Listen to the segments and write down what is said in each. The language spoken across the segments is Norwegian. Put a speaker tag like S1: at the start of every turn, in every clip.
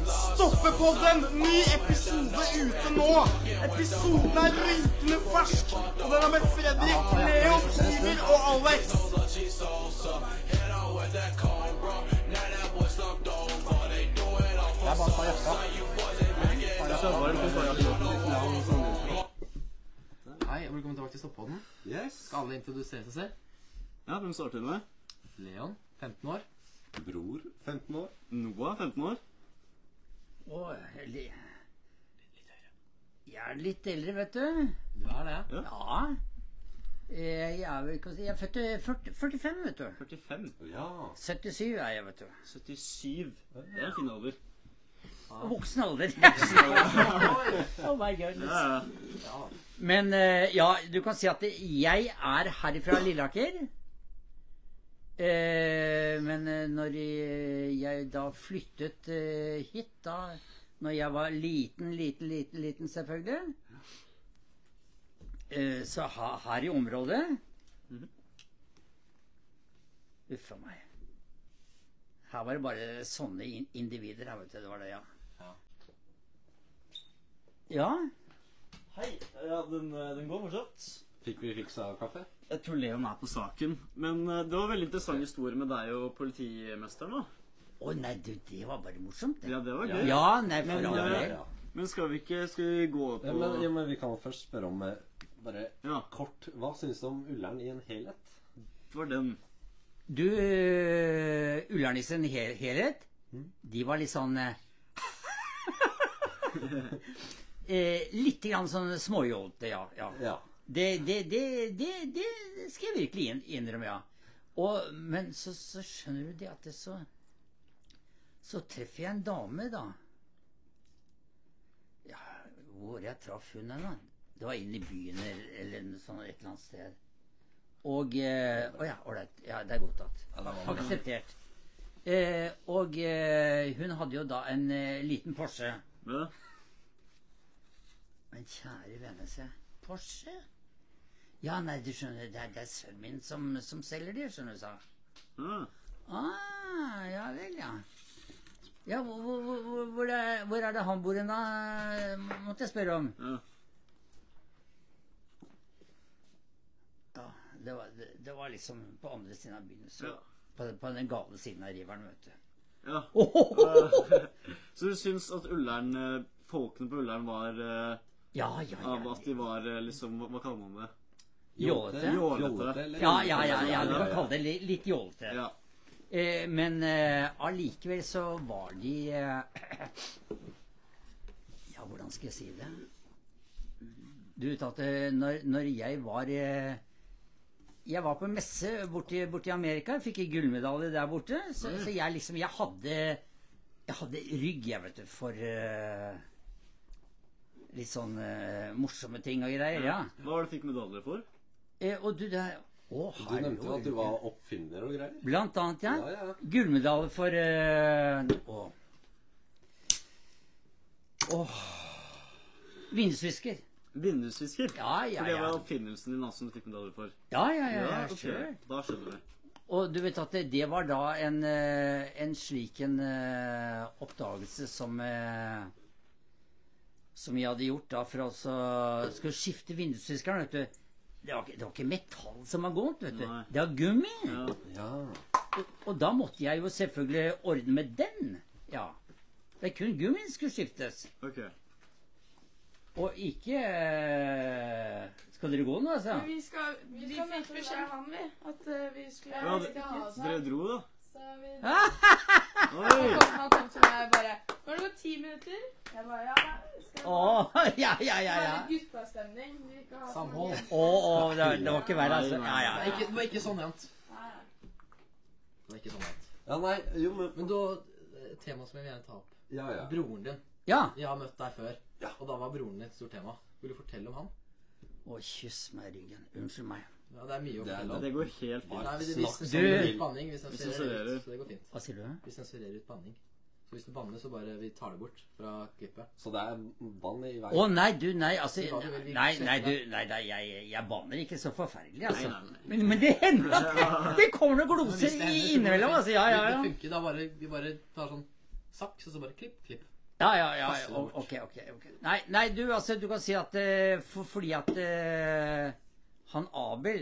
S1: Stoppepodden! Ny episode ute nå! Episoden er rynkende fersk, og den er med Fredrik, Leon, Iver og Alex. Hei, og velkommen tilbake til Stoppepodden.
S2: Yes.
S1: Skal alle introdusere seg selv?
S2: Ja, hvem starter med?
S1: Leon, 15 år.
S3: Bror, 15 år.
S2: Noah, 15 år.
S4: Og li- Jeg er litt eldre, vet du.
S1: Du er det, ja?
S4: Ja. Eh, Jeg er vel ikke å si- Jeg er født i 40 45, vet du.
S2: 45.
S3: Ja.
S4: 77 er jeg, vet du.
S2: 77. Det er en fin alder.
S4: Voksen alder. oh my
S2: Ja,
S4: God.
S2: ja.
S4: Men eh, ja, du kan si at det- jeg er herifra Lilleaker. Eh, Men eh, når eh, jeg da flyttet eh, hit, da Når jeg var liten, liten, liten, liten, selvfølgelig eh, Så ha- her i området
S2: Mhm.
S4: Uff a meg. Her var det bare sånne in- individer. Her, vet du, det var det, ja. Ja,
S2: Hei. Ja, den, eh, den går fortsatt.
S3: Fikk vi fiksa kaffe?
S2: Jeg tror Leon er på saken. Men eh, det var veldig interessant historie med deg og politimesteren, da.
S4: Å nei, du, det var bare morsomt. det.
S2: Ja, det var gøy.
S4: Ja, nei,
S2: Men,
S4: for all
S2: eh,
S4: del.
S2: Men skal vi ikke Skal vi gå på
S3: Ja, men, ja, men vi kan først spørre om eh, bare
S2: Ja,
S3: kort Hva syns du om Ullern i en helhet?
S2: det var den.
S4: Du, eh, Ullern i sin hel helhet,
S2: Mm.
S4: de var litt sånn eh, eh, Litt grann sånn småjålte, ja. ja.
S3: Ja.
S4: Det, det, det, det, det skal jeg virkelig inn- innrømme, ja. Og, men så, så skjønner du det at det så Så treffer jeg en dame, da. Ja, hvor jeg traff hun henne? Det var inn i byen eller, eller noe sånt, et eller annet sted. Og eh, Å ja, ålreit. Ja, det er godtatt. Akseptert. Eh, og eh, hun hadde jo da en eh, liten Porsche.
S2: Ja.
S4: Men kjære vene, se. Porsche? Ja, nei, du skjønner, det er, det er sønnen min som, som selger de, skjønner du, sa han.
S2: Ja.
S4: Ah, ja vel, ja. Ja, hvor, hvor, hvor- hvor, hvor, er, hvor er det han bor hen, da? Måtte jeg spørre om.
S2: Ja.
S4: Ja, det var, det, det var liksom på andre siden av byen. Så,
S2: Ja.
S4: på, den- på den gale siden av riveren, vet du.
S2: ja. Eh,
S4: Ohohoho!
S2: Så du syns at Ullern eh, Folkene på Ullern var eh,
S4: Ja, ja, ja.
S2: Av at de var eh, liksom Hva, hva kaller man det?
S4: Jålete?
S2: Jålete.
S3: eller?
S4: Ja, ja, ja, ja, du
S2: Ja,
S4: kan
S2: ja.
S4: kalle det li- litt jålete.
S2: Ja.
S4: Eh, men eh, allikevel så var de eh, Ja, hvordan skal jeg si det? Du vet at eh, når, når jeg var eh, Jeg var på messe borti, borti Amerika. Fikk en gullmedalje der borte. Så,
S3: Mm.
S4: så jeg liksom Jeg hadde Jeg hadde rygg, jeg, vet du, for eh, litt sånn eh, morsomme ting og greier. Ja.
S2: Hva var det du fikk medalje for?
S4: Eh, og du, det er Å,
S3: Du nevnte jo at du
S4: herregud.
S3: var oppfinner og greier.
S4: Blant annet, ja.
S3: Ja, ja.
S4: Gullmedalje for eh, Å. Åh. Vindusvisker.
S2: Vindusfisker.
S4: Ja, ja,
S2: For det
S4: ja.
S2: var oppfinnelsen din altså, som du fikk medalje for.
S4: Ja, ja, ja. ja,
S2: ok.
S4: sure.
S2: Da skjønner jeg.
S4: Og du vet at det, det var da en, eh, en slik en eh, oppdagelse som eh, Som jeg hadde gjort da for å så- skulle skifte vindusviskeren, vet du. Det var, ikke- det var ikke metall som var gått, vet du.
S2: Nei.
S4: Det var gummi.
S2: Ja.
S3: Ja.
S4: Og da måtte jeg jo selvfølgelig ordne med den. Ja. Det er kun gummien skulle skiftes.
S2: Ok.
S4: Og ikke eh, Skal dere gå nå, altså?
S5: Men Vi, skal, vi, fikk beskjed av han, vi. At eh, vi skulle
S2: Ja,
S5: vi
S2: det-
S5: skulle ha oss
S2: Dere
S5: her.
S2: dro, da?
S5: Så vi
S2: Oi!
S5: kom, han kom til meg og bare Nå har det gått ti minutter. Jeg bare Ja, skal
S4: Å, ja, ja, ja.
S5: ha
S4: ja.
S5: litt guttastemning. Vi vil ikke ha sånn- så
S1: Samhold.
S5: mange-
S4: Å, å, det, var- det var ikke verre, altså. Ja, ja.
S1: Ikke, det var ikke sånn jevnt.
S5: Nei, nei.
S1: Det var ikke sånn jevnt.
S3: ja, nei, jo, men
S1: Men da, eh, tema som jeg vil gjerne ta opp.
S3: Ja, ja.
S1: Broren din.
S4: ja.
S1: Jeg har møtt deg før, og da var broren din et stort tema. Vil du fortelle om han?
S4: Å, kyss meg i ryggen. Unnskyld meg.
S1: Ja, det er mye å
S3: Det er
S1: fortelle om.
S2: Det går helt fint.
S1: Nei, vi, vi,
S3: Snakk.
S1: sensurerer ut banning. Vi
S2: Vi
S1: sensurerer
S2: sensurerer.
S1: ut, så det går fint.
S4: Hva sier du?
S1: Vi sensurerer ut banning. Så hvis du banner, så bare vi tar det bort fra klippet.
S3: Så det er vann i
S4: Å
S3: veien.
S4: nei, du, nei, altså Nei, nei, du, nei, nei jeg, jeg banner ikke så forferdelig, altså.
S2: Nei, nei, nei.
S4: Men, men det hender at det, det kommer
S1: Men
S4: noen
S1: hvis det hender, så
S4: gloser
S1: går det
S4: i- innimellom,
S1: fint.
S4: altså. Ja, ja,
S1: Det-
S4: ja.
S1: Det funker. Da bare Vi bare tar sånn
S6: Sakk, så så bare klipp, klipp.
S4: Ja, ja, ja.
S6: Kaste det
S4: o-
S6: bort.
S4: Ok, ok. ok. Nei, nei, du, altså, du kan si at eh, for, Fordi at eh, han Abel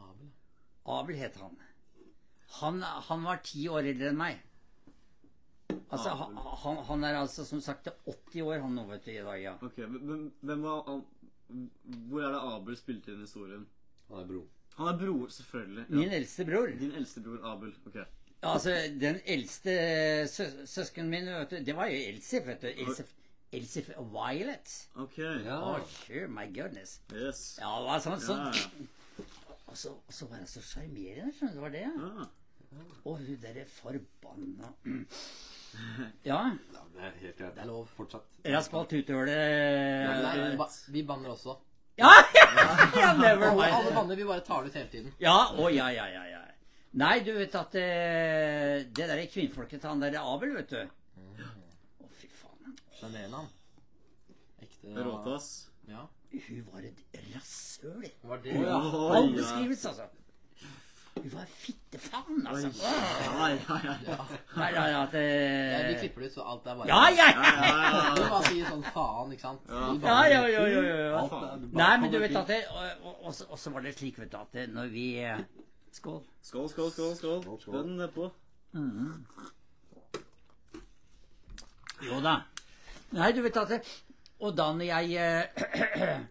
S6: Abel, da.
S4: Abel het han. Han, han var ti år eldre enn meg. Altså,
S2: Abel.
S4: han, han- han er altså som sagt 80 år han nå, vet du, i dag, ja.
S2: Ok, hvem, hvem var Ab- Hvor er det Abel spilte inn historien?
S3: Han er bro.
S2: Han er bror, selvfølgelig.
S4: Min eldste bror.
S2: Din eldste bror Abel. Ok.
S4: Altså, den eldste sø søskenen min, vet du, det var jo Elsif, vet du. Elsif, Elsif Violet.
S2: Ok.
S3: Ja.
S4: Oh, sure, my goodness.
S2: Yes.
S4: Ja, det var sånn, sånn.
S2: Ja, ja.
S4: Og så, og så var han så sjarmerende, skjønner du. Det var det.
S2: Ah,
S4: Og hun derre forbanna Ja.
S3: Ja, men det er helt greit.
S6: Det er lov.
S3: Fortsatt.
S4: Raspalt tutehøle
S6: Nei, vi ba- vi banner også.
S4: eh, Ja! ja, never
S6: Alle, alle
S4: mind.
S6: banner, vi bare tar det ut hele tiden.
S4: Ja, å ja, ja, ja. ja. Nei, du vet at eh, det derre kvinnfolket til han derre Abel, vet du Å,
S6: Mm.
S4: fy faen.
S6: Sjarmerende, han. Ekte
S2: Rått, ass.
S6: Ja.
S4: Hun var et rasshøl.
S6: Det var det.
S4: Ja,
S2: Oi,
S4: all
S2: ja.
S4: beskrivelse, altså. Hun var fittefaen,
S2: Oi.
S4: altså.
S2: Ja, ja, ja. ja,
S4: Nei, nei, nei, at
S6: Ja, vi
S4: eh,
S6: klipper det ut, så alt er bare
S4: Ja, ja, ja!
S2: ja,
S6: Vi
S2: ja.
S6: bare sier sånn faen, ikke sant? Vi
S4: Ja,
S6: banner.
S4: ja, ja, ja, ja, ja.
S3: Alt er, du bare
S4: Nei, men
S3: kommer
S4: du vet
S3: til-
S4: at det, og, og, og, så- og så var det slik, vet du, at det, når vi eh, Skål.
S2: Skål, skål, skål. skål.
S3: Skål, skål.
S2: Bønn nedpå.
S4: Jo da. Nei, du vet at det, Og da når jeg eh,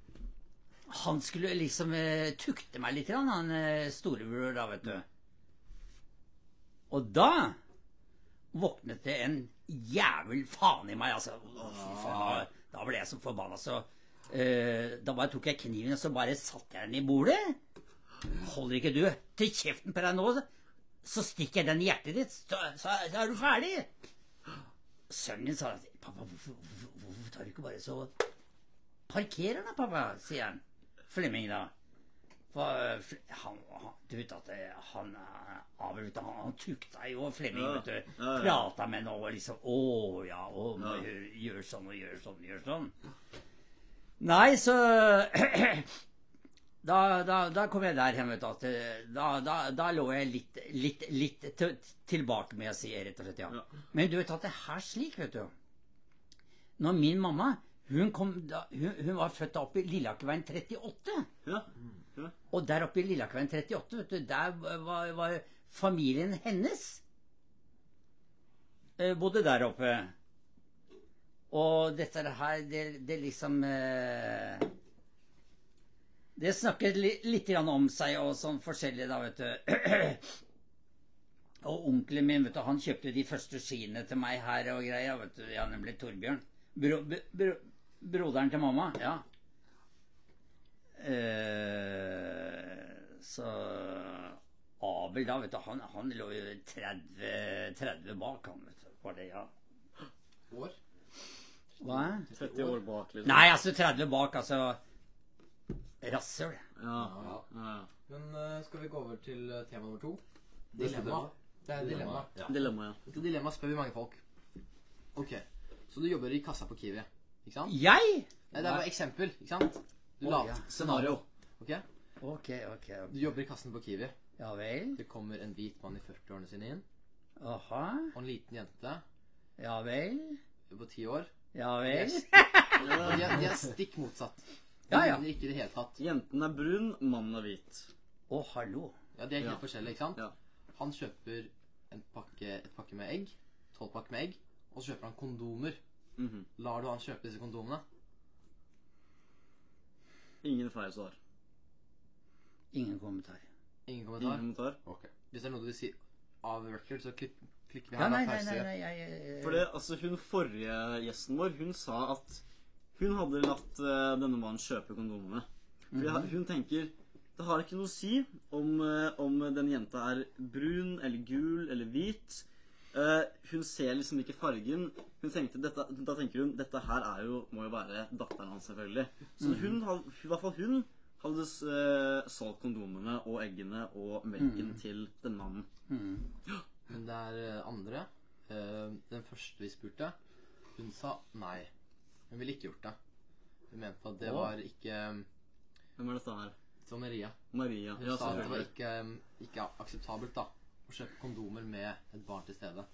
S4: Han skulle liksom eh, tukte meg litt, grann, han eh, storebror da, vet du. Og da våknet det en jævel faen i meg, altså. Å, fy faen, da, da ble jeg så forbanna, så eh, Da bare tok jeg kniven, og så bare satte jeg den i bordet. Holder ikke du til kjeften på deg nå, så stikker jeg den i hjertet ditt, så, så, så er du ferdig. Sønnen min sa at Pappa, hvorfor, hvorfor, hvorfor tar du ikke bare så Parkerer da, pappa, sier han. Flemming, da. For eh, Fle- han, han, du vet at eh, han eh, Abel, vet du, han, han tukta jo Flemming,
S2: Ja,
S4: vet du.
S2: ja, ja.
S4: Prata med ham og liksom Å ja, å, må
S2: Ja.
S4: gjøre- gjøre sånn og gjøre sånn, gjøre sånn. Nei, så da, da, da kom jeg der hen, vet du. At eh, da, da, da lå jeg litt, litt, litt til, tilbake, må jeg si, rett og slett. ja.
S2: Ja.
S4: Men du vet at det her slik, vet du. Når min mamma Hun, kom da, hun, hun var født da oppe i Lilleakerveien 38.
S2: Ja. ja.
S4: Og der oppe i Lilleakerveien 38, vet du, der var, var familien hennes eh, bodde der oppe. Og dette her, det, det liksom eh, Det snakket li, litt grann om seg og sånn forskjellig, da, vet du. Og onkelen min, vet du, han kjøpte de første skiene til meg her og greia, vet du. Ja, nemlig Torbjørn. Bro, bro, bro, broderen til mamma. Ja. Eh, så Abel, da, vet du, han, han lå jo 30, 30 bak, han, vet du. Var det, ja.
S6: År.
S4: Hva?
S2: 30 år bak, liksom.
S4: Nei, altså 30 bak, altså Rasshøl.
S2: Ja.
S3: Ja.
S2: ja.
S6: Men eh, skal vi gå over til eh, tema nummer to?
S3: Neste
S6: Dilemma.
S3: tema.
S6: Det er dilemma.
S3: Ja.
S2: Dilemma, ja.
S6: Dette dilemma spør vi mange folk. Ok, så du jobber i kassa på Kiwi, ikke sant?
S4: Jeg?
S6: Nei, det er bare eksempel, ikke sant? Du
S4: Å,
S6: later.
S4: ja.
S6: Scenario. Ok,
S4: Ok, ok. ok.
S6: du jobber i kassen på Kiwi.
S4: Ja vel.
S6: Det kommer en hvit mann i 40-årene sine inn,
S4: Aha.
S6: og en liten jente
S4: Ja vel.
S6: på 10 år.
S4: Ja vel.
S6: Og de er, de er stikk motsatt. De
S4: Ja, ja.
S6: ligner ikke i det hele tatt.
S2: Jenten er brun, mannen er hvit.
S4: Å, hallo.
S6: Ja, de er helt
S2: Ja.
S6: forskjellige, ikke sant?
S2: Ja.
S6: Han kjøper en pakke, et pakke med egg, 12 pakke med egg, og så kjøper han kondomer.
S2: Mhm.
S6: Lar du han kjøpe disse kondomene?
S2: Ingen feil svar.
S4: Ingen kommentar.
S6: Ingen
S2: Ingen
S4: Mm.
S6: kommentar.
S2: kommentar.
S3: Ok.
S6: Hvis det er noe du vil si av record, så klipp, klikker vi
S4: Ja,
S6: her.
S4: nei,
S6: da,
S4: nei,
S6: pause.
S4: nei, nei, jeg, eh, jeg-
S2: For det, altså, hun forrige gjesten vår, hun sa at hun hadde latt eh, denne mannen kjøpe kondomene. Fordi ha- hun tenker det har ikke noe å si om, eh, om den jenta er brun eller gul eller hvit. Eh, hun ser liksom ikke fargen. Hun tenkte, dette, da tenker hun dette her er jo, må jo være datteren hans, selvfølgelig. Så hun, had- i hvert fall hun hadde s- eh, solgt kondomene og eggene og melken til den mannen.
S6: Men det er eh, andre. Eh, Den første vi spurte, hun sa nei. Hun ville ikke gjort det. Hun mente at det
S4: Å.
S6: var ikke eh,
S2: Hvem er dette her?
S6: Som Maria.
S2: Maria.
S6: Hun
S2: Ja,
S6: sa at det var eh,
S2: selvfølgelig.
S6: ikke, ikke akseptabelt da å kjøpe kondomer med et barn til stede.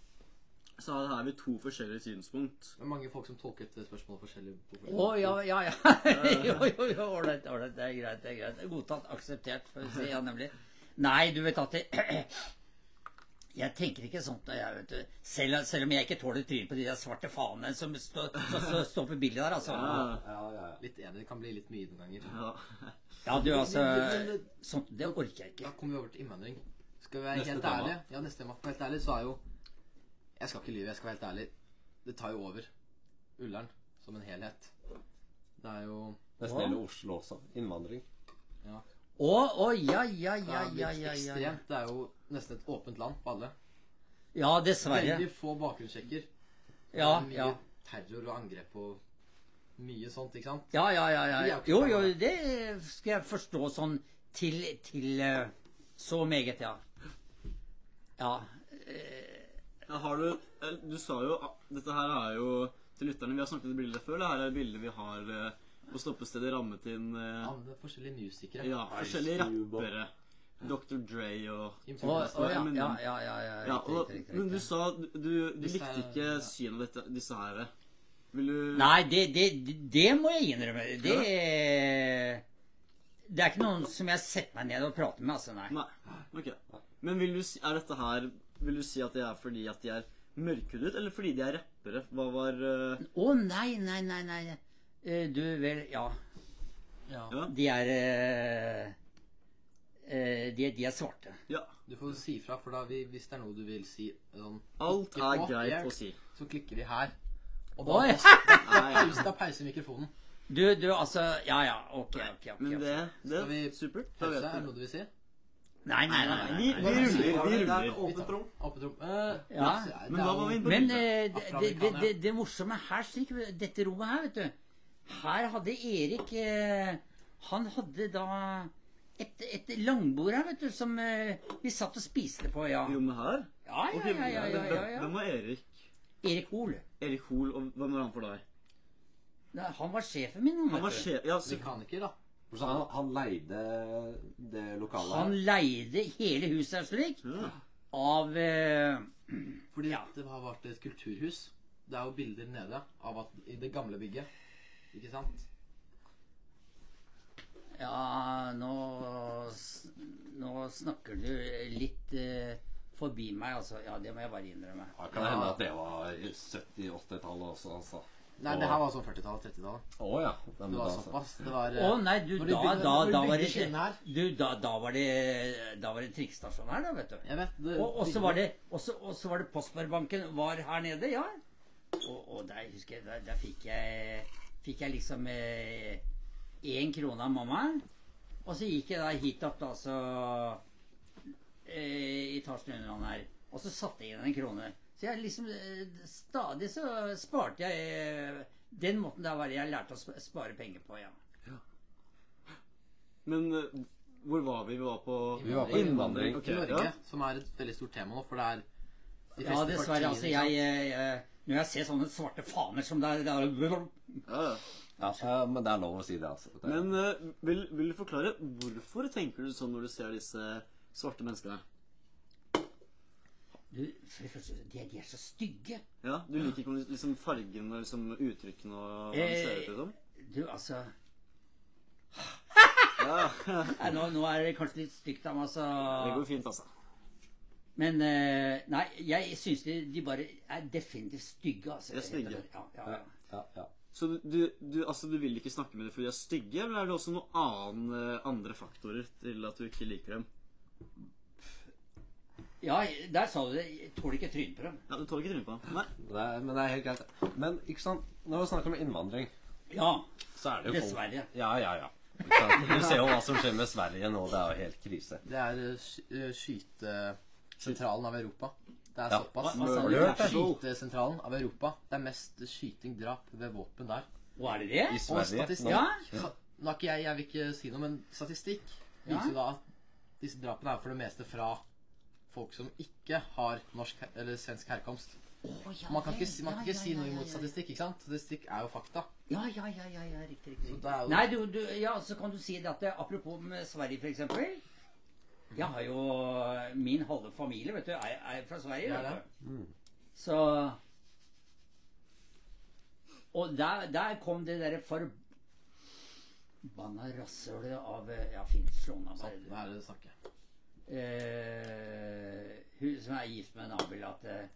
S2: så her har vi to forskjellige synspunkt.
S6: Det er mange folk som tolket det spørsmålet forskjellig. på
S4: Å,
S6: forskjellig.
S4: ja, ja, ja. jo, jo, jo, ålreit, ålreit. Det er greit. det er greit. Godtatt, akseptert, for å si ja, nemlig. Nei, du vet at det Jeg tenker ikke sånt når jeg, vet du. Selv, selv om jeg ikke tåler trynet på de der svarte fanene som står stå, stå, stå på bildet der, altså.
S2: Ja,
S3: Ja, ja, ja.
S6: Litt enig. Det kan bli litt mye noen ganger.
S2: ja.
S4: Ja, du, altså
S6: Men- men-
S4: sånt, Det orker jeg
S6: Da
S4: ikke.
S6: kommer vi over til innvandring. Skal vi være
S2: Neste
S6: helt
S2: tema.
S6: ærlige, ja, neste tema. For helt ærlig, så er jo Jeg skal ikke lyve, jeg skal være helt ærlig. Det tar jo over. Ullern som en helhet. Det er jo
S3: Nesten hele Oslo også. Innvandring.
S4: Å, å, ja, ja,
S6: det
S4: ja,
S6: er
S4: ja,
S6: blitt
S4: ja, ja, ja.
S6: ekstremt. Det er jo nesten et åpent land på alle.
S4: Ja, dessverre.
S6: Veldig få bakgrunnssjekker.
S4: Ja,
S6: Det er mye
S4: ja.
S6: terror og angrep og mye sånt, ikke sant?
S4: Ja, ja, ja.
S6: Vi er
S4: ja.
S6: jo ikke
S4: Jo,
S6: fra
S4: jo,
S6: Norge.
S4: det skal jeg forstå sånn til, til eh, så meget, ja. Ja.
S2: Ja, har du, eh, du sa jo ah, Dette her er jo til lytterne Vi har snakket om bilder før. Det her er bilder vi har eh, på stoppestedet rammet inn eh,
S6: Andre forskjellige musikere.
S2: Ja, forskjellige
S3: Cube og-
S2: rappere. Dr. Dre og
S4: Å,
S6: Influencer.
S4: å, ja,
S2: men-
S4: ja, ja, ja, ja,
S2: Ja,
S4: riktig,
S2: og,
S4: riktig,
S2: men du
S4: riktig.
S2: sa du, du du
S6: Disse
S2: likte
S6: er-
S2: ikke
S6: ja.
S2: synet av dette, disse her. Vil du
S4: Nei, det, det, det må jeg innrømme. Det Det er ikke noen som jeg setter meg ned og prater med, altså, nei.
S2: Nei. Ok. Men vil du si, er dette her Vil du si at det er fordi at de er mørkhudet, eller fordi de er rappere? Hva var eh,
S4: Å, nei, nei, nei, nei. Eh, Du, vel, ja.
S6: Ja.
S2: Ja.
S4: De er eh, eh, de, de er svarte.
S2: Ja.
S6: Du får si fra, for da vi, hvis det er noe du vil si sånn,
S2: Alt
S6: ikke
S2: er
S6: på,
S2: greit
S6: jeg-
S2: å si.
S6: Så klikker vi her. Og
S4: Oi.
S6: da, pauser-
S2: Nei, ja.
S6: da pauser mikrofonen.
S4: Du, du, altså Ja, ja, ok, ok. ok.
S2: Men det, det
S6: Skal vi-
S2: Supert. Da
S6: Pause
S2: vet
S6: er det
S2: du.
S6: noe du vil si?
S4: Nei, nei, nei. nei.
S2: Vi, vi ruller. Vi
S3: Det er
S2: ruller.
S3: et åpent rom.
S6: Åpent rom. Eh,
S4: Ja,
S6: det er
S2: Men hva var vi
S6: jo-
S2: inne på?
S4: Men
S2: bildet?
S4: eh, det, det, det, det, det morsomme her, slik, dette rommet her, vet du Her hadde Erik eh, Han hadde da et, et langbord her, vet du, som eh, vi satt og spiste på, ja.
S2: Jo, men her?
S4: Ja, ja,
S2: Ok,
S4: ja. ja, ja, ja,
S2: Hvem
S4: ja.
S2: var Erik?
S4: Erik Hoel.
S2: Erik Hoel, og hvem var han for deg?
S4: Nei, Han var sjefen min, han,
S2: Han var
S4: vet du.
S2: sjef... Ja, så,
S6: Mekaniker, da.
S3: Så han, han leide det lokalet
S4: Han
S3: her.
S4: leide hele huset her, slik,
S2: ja.
S4: av eh,
S6: Fordi
S4: Ja.
S6: det har vært et kulturhus. Det er jo bilder nede av at i det gamle bygget. Ikke sant?
S4: Ja, nå, s- nå snakker du litt eh, forbi meg, altså. Ja, det må jeg bare innrømme.
S3: Ja, kan det hende at det var i 70-80-tallet også, altså.
S6: Nei, det her var sånn 40-tallet, 30-tallet.
S3: Å ja. Nei, men
S6: Det var
S3: da-
S6: såpass. Det var
S4: Å nei, du,
S6: Når de
S4: da,
S6: bygde-
S4: da,
S6: når de
S4: da
S6: bygde
S4: var det
S6: skinnen her.
S4: Du, da, da var det Da var det trikkstasjon her, da, vet du.
S6: Jeg vet. Det,
S4: Og og så var det Og så og så var det Postbærbanken var her nede, ja. Og, og der husker jeg Der, der fikk jeg Fikk jeg liksom eh, én krone av mamma. Og så gikk jeg da hit opp, da, så eh, Etasjen under han her. Og så satte jeg inn en krone. Så jeg liksom eh, Stadig så sparte jeg eh, Den måten der var det jeg lærte å sp- spare penger på, ja.
S2: Men eh, hvor var vi? Vi var på
S3: Vi var på innvandring.
S2: Ok,
S6: Norge,
S2: ja.
S6: som er et veldig stort tema nå, for det er de
S4: Ja,
S6: fleste
S4: dessverre. Altså,
S6: partiene,
S4: jeg,
S6: ikke sant?
S4: eh, Når jeg ser sånne svarte faner som det er det er-
S2: Ja, ja.
S3: Ja, eh, men det er lov å si det, altså. Det er-
S2: Men eh, vil, vil du forklare hvorfor tenker du sånn når du ser disse svarte menneskene?
S4: du, For det første, de er, de er så stygge.
S2: Ja, Du liker ikke om liksom, fargen og liksom, uttrykkene og hva de ser ut som?
S4: Du, altså
S2: Ja,
S4: nei, nå, nå er det kanskje litt stygt av meg,
S6: Eh,
S2: det
S4: altså.
S2: går fint, altså.
S4: Men eh, nei, jeg syns de, de bare er definitivt stygge, altså.
S2: De er stygge.
S4: Ja, ja, ja.
S3: ja, ja.
S2: Så du, du, du, altså, du vil ikke snakke med dem fordi de er stygge, eller er det også noen annen, eh, andre faktorer til at du ikke liker dem?
S4: ja, der sa du det. Jeg tåler ikke trynet på dem.
S2: Ja, Du tåler ikke trynet på dem? Nei.
S3: Det er, men det er helt greit. Men ikke sant, når vi snakker om innvandring,
S4: Ja.
S3: så er det jo folk-
S4: Dessverre.
S3: Ja, ja, ja. Ikke sant? Du ser jo hva som skjer med Sverige nå. Det er jo helt krise.
S6: Det er eh, sky- eh, skytesentralen av Europa. Det er
S3: Ja.
S6: såpass. Altså,
S2: Hva sa
S3: du?
S6: Det er
S2: Castle.
S6: Skytesentralen av Europa. Det er mest skyting, drap ved våpen der.
S4: Og er det det?
S3: I
S6: Og
S3: Sverige
S6: statistikk
S3: nå.
S4: Ja.
S6: Sa- Nå er ikke jeg, jeg vil ikke si noe, men statistikk
S4: Ja.
S6: viser jo da at disse drapene er for det meste fra folk som ikke har norsk her- eller svensk herkomst.
S4: Å, ja,
S6: Man kan ikke,
S4: vel.
S6: si- man kan
S4: Ja,
S6: ikke
S4: ja,
S6: si
S4: ja,
S6: noe
S4: ja,
S6: imot
S4: ja.
S6: statistikk, ikke sant? Statistikk er jo fakta.
S4: Ja, ja, ja, ja, ja riktig, riktig.
S6: Så
S4: riktig.
S6: det er jo-
S4: Nei, du, du, ja, så kan du si det at eh, apropos med Sverige, for eksempel. Jeg har jo Min halve familie vet du, er, er fra Sverige.
S6: Ja,
S4: vet
S6: ja.
S4: du. Så Og der, der kom det derre forbanna rasshølet av eh, Ja, fint, slå meg
S6: Sånn,
S4: bare.
S6: hva er det du snakker?
S4: Eh, hun som er gift med en Abel, at eh,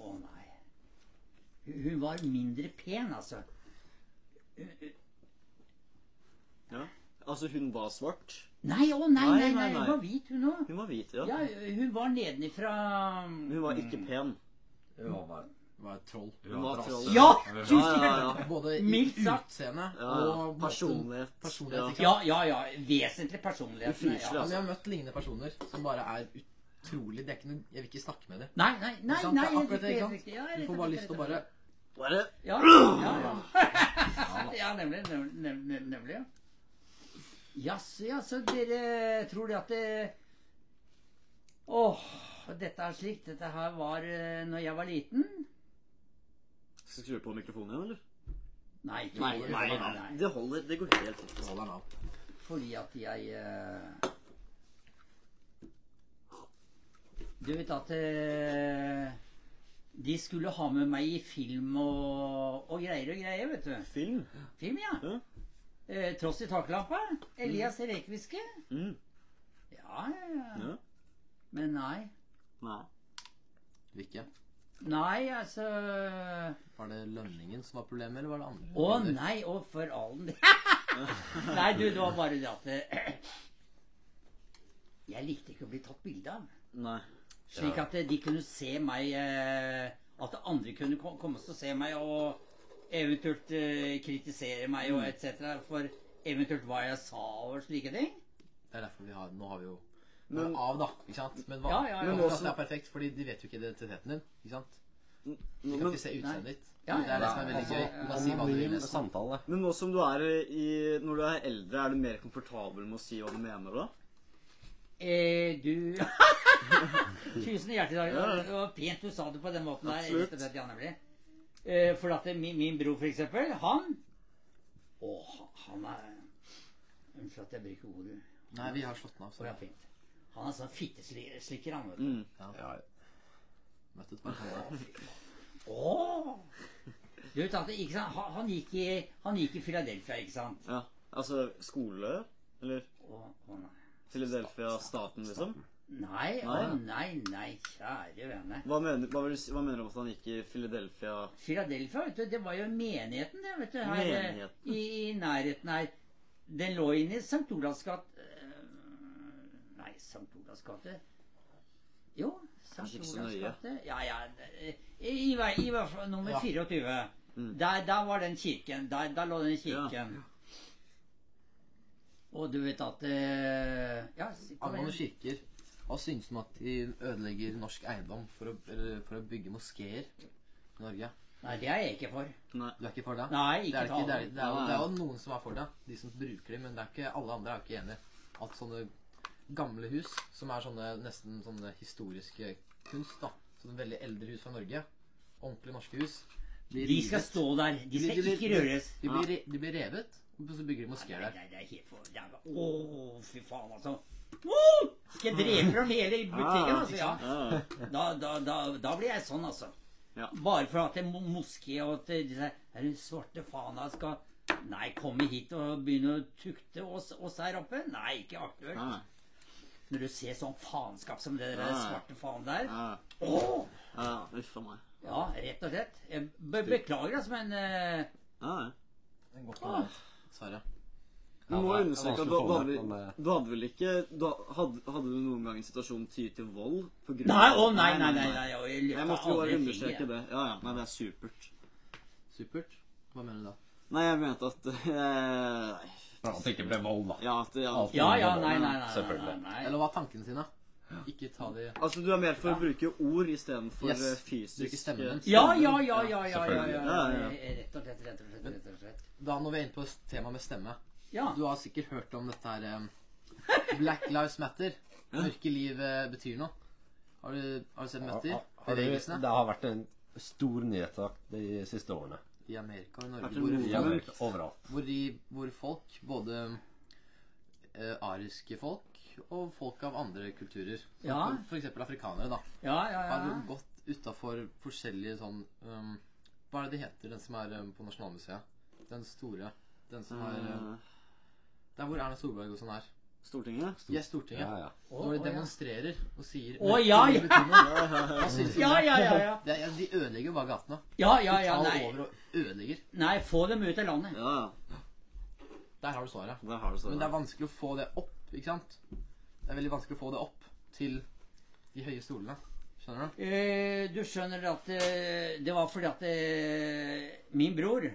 S4: Å nei. Hun, hun var mindre pen, altså.
S2: Ja. Altså, hun var svart.
S4: Nei, å nei, nei,
S2: Nei,
S4: nei,
S2: nei, nei.
S4: hun var hvit, hun òg.
S2: Hun var hvit, ja.
S4: Ja, hun var nedenifra
S2: Hun var ikke pen.
S3: Hun var bare
S6: Var det et troll?
S2: Hun var troll.
S4: Ja!
S2: Ja,
S4: Tusen
S2: ja,
S4: hjertelig!
S2: ja.
S6: Både i
S4: Mildt sagt.
S6: utseende
S2: ja.
S6: og måten-
S2: Personlighet.
S6: personlighet, ikke sant?
S4: Ja, ja, ja. Vesentlig personlighet.
S2: Hun
S4: ja.
S2: fyser,
S6: Ja, men jeg har møtt lignende personer som bare er utrolig Det er ikke noe Jeg vil ikke snakke med dem.
S4: Nei, nei, nei.
S6: sant?
S4: nei
S6: Det er akkurat
S4: riktig,
S6: det, ikke sant?
S4: riktig. Ja,
S6: Du
S4: rett
S6: får
S4: og
S6: bare
S4: slett,
S6: lyst til å
S4: rett og
S6: bare
S4: slett.
S2: Bare
S4: Ja, ja, ja. ja nemlig. Nemlig, nemlig, nemlig ja. Jaså, ja, så dere tror det at det Åh, dette er slik. Dette her var eh, når jeg var liten.
S2: Skal vi skru på mikrofonen igjen, eller?
S4: Nei, ikke
S2: Nei,
S4: det.
S2: nei, nei. Det holder. Det går helt fint.
S6: Hold deg av.
S4: Fordi at jeg eh, Du vet at eh, De skulle ha med meg i film og, og greier og greier, vet du.
S2: Film.
S4: Film, ja.
S2: Ja.
S4: Eh, Tross i taklampa. Elias Rekviske.
S2: Mm.
S4: Ja, ja, ja.
S2: Ja.
S4: Men nei.
S2: Nei.
S6: Hvilke?
S4: Nei, altså
S6: Var det lønningen som var problemet, eller var det andre?
S4: Å
S6: problemer?
S4: nei, å for all den Nei, du, det var bare det at eh, Jeg likte ikke å bli tatt bilde av.
S2: Nei.
S4: Slik at eh, de kunne se meg eh, At andre kunne ko- komme og se meg og eventuelt eh, kritisere meg
S2: Mm.
S4: og etc. for eventuelt hva jeg sa og slike ting.
S6: Det er derfor vi har Nå har vi jo Nå er
S2: Men,
S6: det av, da. Ikke sant? Men hva?
S4: Ja, ja, ja.
S6: Men
S4: Men
S6: også,
S2: også-
S6: det er perfekt, fordi de vet jo ikke identiteten din. Ikke sant? De kan
S2: men,
S6: ikke se utseendet ditt.
S4: Ja,
S6: Det er det
S4: ja,
S6: som er veldig
S4: altså,
S6: gøy. Du kan si hva du vil.
S3: Anonym samtale.
S2: men nå som du er i Når du er eldre, er du mer komfortabel med å si hva du mener, da?
S4: Eh, du Tusen hjertelig takk.
S2: Ja, ja.
S4: Det var pent du sa det på den måten. Der,
S2: Absolutt.
S4: rett og slett, Jan Emil. eh, for at min, min bror, for eksempel, han Å, han er Unnskyld at jeg bruker ordet.
S6: Nei, vi har slått den av.
S4: Å,
S6: Så
S4: ja, fint. Han er sånn fitteslikker, han. vet du.
S2: Mm.
S6: ja. Møtt et par ganger.
S4: Åh! Du vet at, ikke sant? Han, han, gikk i, han gikk i Philadelphia, ikke sant?
S2: Ja. Altså skole? Eller
S4: Å, å nei.
S2: Philadelphia-staten, liksom?
S4: Nei, å
S2: Nei.
S4: nei, nei, kjære vene.
S2: Hva mener, hva, vil du, si- hva mener du om at han gikk i Philadelphia
S4: Philadelphia, vet du, det var jo menigheten, det, vet du. Her, eh,
S2: Menigheten.
S4: i, I nærheten her. Den lå inne i St. Olavs gate eh, Nei, St. Olavs gate Jo, St.
S2: Kanskje ikke så
S4: Olavs
S2: nøye.
S4: gate Ja, ja. eh, I, i, hver- i hvert fall nummer
S6: Ja.
S4: 24.
S2: Mm.
S4: Der, der var den kirken. Der, der lå den kirken. Og du vet at eh, Ja, si- kom
S6: Angående
S4: igjen.
S6: kirker Hva syns du om at de ødelegger norsk eiendom for å, eller, for å bygge moskeer i Norge?
S4: Nei, det er jeg ikke for.
S2: Nei.
S6: Du er ikke for det?
S4: Nei,
S6: Det
S4: ikke
S6: er, ikke, det, er, det, er, jo-
S2: Nei.
S6: det er jo noen som er for det, de som bruker det, men det er ikke, alle andre er jo ikke enige at sånne gamle hus, som er sånne, nesten sånne historiske kunst, da, sånne veldig eldre hus fra Norge, ordentlige norske hus, blir
S4: De skal
S6: revet.
S4: stå der. De skal
S6: blir-
S4: ikke røres.
S6: De blir, re- de blir revet, og så bygger de moskeer
S4: Nei,
S6: der.
S4: nei, det er helt for det er, Å, fy faen, altså. Å, Skal jeg drepe dem hele i butikken,
S2: Mm. Ah,
S4: altså? Ja.
S2: Ja, ja.
S4: Da, da, da, da blir jeg sånn, altså.
S2: Ja.
S4: Bare for at det er mo- moské og at disse her svarte fana skal Nei, komme hit og begynne å tukte oss, oss her oppe? Nei, ikke aktuelt.
S2: Nei.
S4: Når du ser sånn faenskap som det der
S2: Nei.
S4: svarte faen der
S2: Ja,
S4: Åh!
S2: ja. Uff a meg.
S4: Ja, rett og slett. Jeg be beklager, altså, men eh,
S2: Ja, ja.
S6: Det går ikke an, dessverre.
S2: Du må
S3: Ja, det er
S2: understreke at du,
S3: vanskelig å
S2: du,
S3: få
S2: hadde,
S3: med, men, eh,
S2: du hadde vel ikke du hadde, hadde du noen gang en situasjon ty til vold? På grunn
S4: Nei, å nei, nei, nei. nei, og jeg
S2: Jeg
S4: løfter
S2: måtte jo
S4: aldri
S2: bare
S4: fingeren.
S2: understreke det. Ja, ja. Nei, det er supert.
S6: Supert. Hva mener du da?
S2: Nei, jeg mente at eh, nei,
S3: For at det ikke ble vold, da.
S2: Ja, at ja.
S3: Alt.
S4: Ja, ja, nei, nei, nei. nei, nei,
S3: Selvfølgelig.
S4: nei.
S6: Eller hva er tankene sine? Ikke ta de...
S2: Altså, du er mer for å bruke ord istedenfor
S6: Yes.
S2: yes.
S6: Bruke
S2: eh, fysisk
S6: stemmen din.
S4: Ja, ja, ja, ja, ja, ja,
S3: Selvfølgelig.
S4: ja,
S2: Ja, ja,
S4: Rett og slett, rett og slett, rett og slett.
S6: Da når vi er inne på temaet med stemme.
S4: Ja,
S6: Du har sikkert hørt om dette her eh, Black Lives Matter. Mørke liv eh, betyr noe. Har du, har du sett Møtter?
S3: Har du,
S6: Bevegelsene?
S3: det har vært en stor nyhetssak de siste årene.
S6: I Amerika og i
S2: Er det
S6: Norge. Hvor,
S3: I
S2: Ja, men-
S3: Amerika, overalt.
S6: hvor, de, hvor folk, både eh, ariske folk og folk av andre kulturer. Som
S4: Ja.
S6: for- For eksempel afrikanere, da.
S4: Ja, ja, ja.
S6: Har jo gått utafor forskjellige sånn um, Hva er det de heter, den som er um, på Nasjonalmuseet? Den store. Den som er
S3: Mm.
S6: um,
S2: Eh,
S6: Der hvor Erna Solberg og sånn er.
S2: Stortinget?
S6: Ja, Stortinget.
S3: Ja, ja.
S4: Å,
S6: Når
S4: å,
S6: de
S4: ja.
S6: demonstrerer og sier
S4: Å, ja, ja.
S6: Hva synes du?
S4: Ja, ja, ja, ja.
S6: Det er- ja, De ødelegger jo bare gatene.
S4: Ja, ja, ja,
S6: Tar
S4: nei.
S6: over og ødelegger.
S4: Nei, få dem ut av landet.
S2: Ja,
S6: Der har du svaret.
S2: der har du
S6: Men
S2: svaret.
S6: det er vanskelig å få det opp, ikke sant? Det er veldig vanskelig å få det opp til de høye stolene. Skjønner du?
S4: Eh, du skjønner at eh, det var fordi at eh, min bror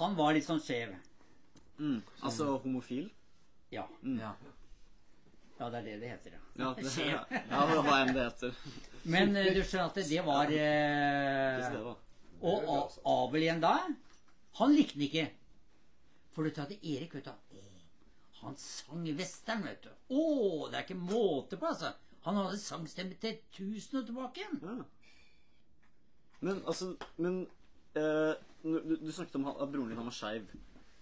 S4: Han var litt sånn skjev.
S2: Mm. Altså homofil?
S4: Ja.
S6: Ja.
S4: ja, det er det det heter, ja.
S2: Ja, det,
S4: Skjev.
S2: ja, det var en det heter.
S4: Men eh, du skjønner at det var
S2: Hvis
S4: eh,
S2: det var.
S4: Og A- Abel igjen da, han likte den ikke. For du tar til Erik, vet du. Å, han sang western, vet du. Å, det er ikke måte på, altså. Han hadde sangstemme til tusen og tilbake igjen.
S2: Ja. Men altså Men eh, nu- du, du snakket om han- at broren din han var skeiv.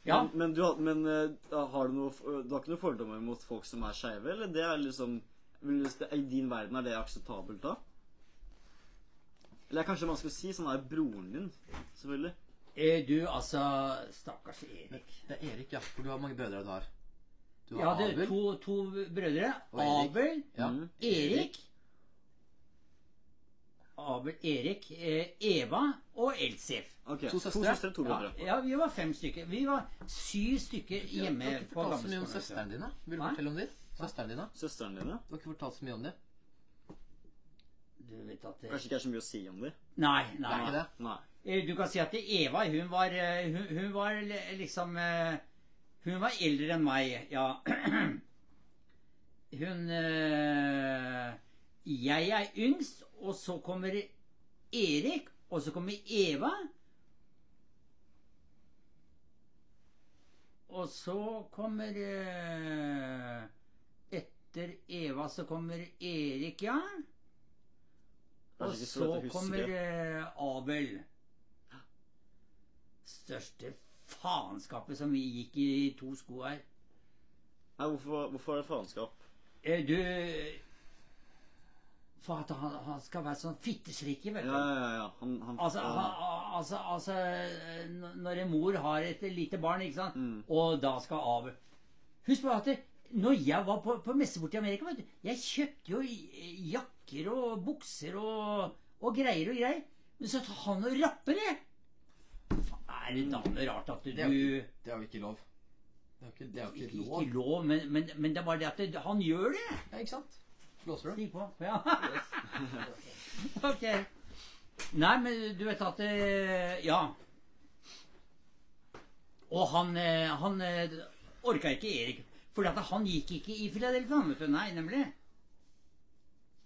S4: Ja.
S2: Men, men, du, har- men eh, da har du, noe, f- du har ikke noen fordommer mot folk som er skeive? Eller det er liksom vil du si- I din verden er det akseptabelt da? Eller det er kanskje vanskelig å si. Sånn er broren din, selvfølgelig.
S4: Eh, du, altså, stakkars Erik.
S6: Det er Erik, ja. For du har hvor mange brødre du har. Du
S4: Jeg
S6: har
S4: hadde
S6: Abel.
S4: to, to brødre.
S6: Og Erik.
S4: Abel,
S6: Ja.
S2: Mm.
S4: Erik Abel, Erik, eh, Eva og Elsif.
S2: Ok,
S6: To søstre?
S2: To søstre, to brødre.
S4: Ja, vi var fem stykker. Vi var syv stykker hjemme
S6: Du har ikke
S4: på
S6: fortalt så mye om
S4: gamleskolen.
S6: søsteren dine. Vil du
S4: Hæ?
S6: fortelle om dem? Søsteren dine?
S2: Søstrene dine.
S6: Du har ikke fortalt så mye om dem.
S4: Du vet at det...
S2: Kanskje ikke er så mye å si om dem.
S4: Nei,
S6: Det er
S4: nei.
S6: ikke det.
S2: Nei.
S4: Eh, Du kan si at Eva, hun var, eh, hun, hun var li- liksom eh, Hun var eldre enn meg, ja. Hun eh, Jeg er yngst, og så kommer Erik, og så kommer Eva. Og så kommer eh, Etter Eva så kommer Erik, ja. Og
S2: Kanskje ikke så
S4: så
S2: lett å huske.
S4: kommer eh, Abel. Største faenskapet som vi gikk i to sko her.
S2: Nei, hvorfor, hvorfor er det faenskap?
S4: Eh, Du For at han, han skal være sånn fitteslikker, vet
S2: Ja,
S4: du.
S2: ja, ja. ja. Han, han,
S4: Altså, han- han- altså, altså eh, n- Når en mor har et lite barn, ikke sant,
S2: Mm.
S4: og da skal av Husk bare at det- når jeg var på, på messe borti Amerika, vet du, jeg kjøpte jo i- jakker og bukser og, og greier og greier. Men så tar han og rapper det! Faen, Er det da rart at du
S6: Det er jo Det har jo ikke lov. Det er jo ikke, det er jo
S4: Ikke,
S6: ikke lov.
S4: ikke lov, men, men, men det er bare det at det, han gjør det.
S6: Ja, ikke sant? Blåser du?
S4: Stig på. Ja. ok. Nei, men du vet at eh, Ja. Og han, eh, han eh, orka ikke Erik. For han gikk ikke i Philadelphia, han, vet du. Nei, nemlig.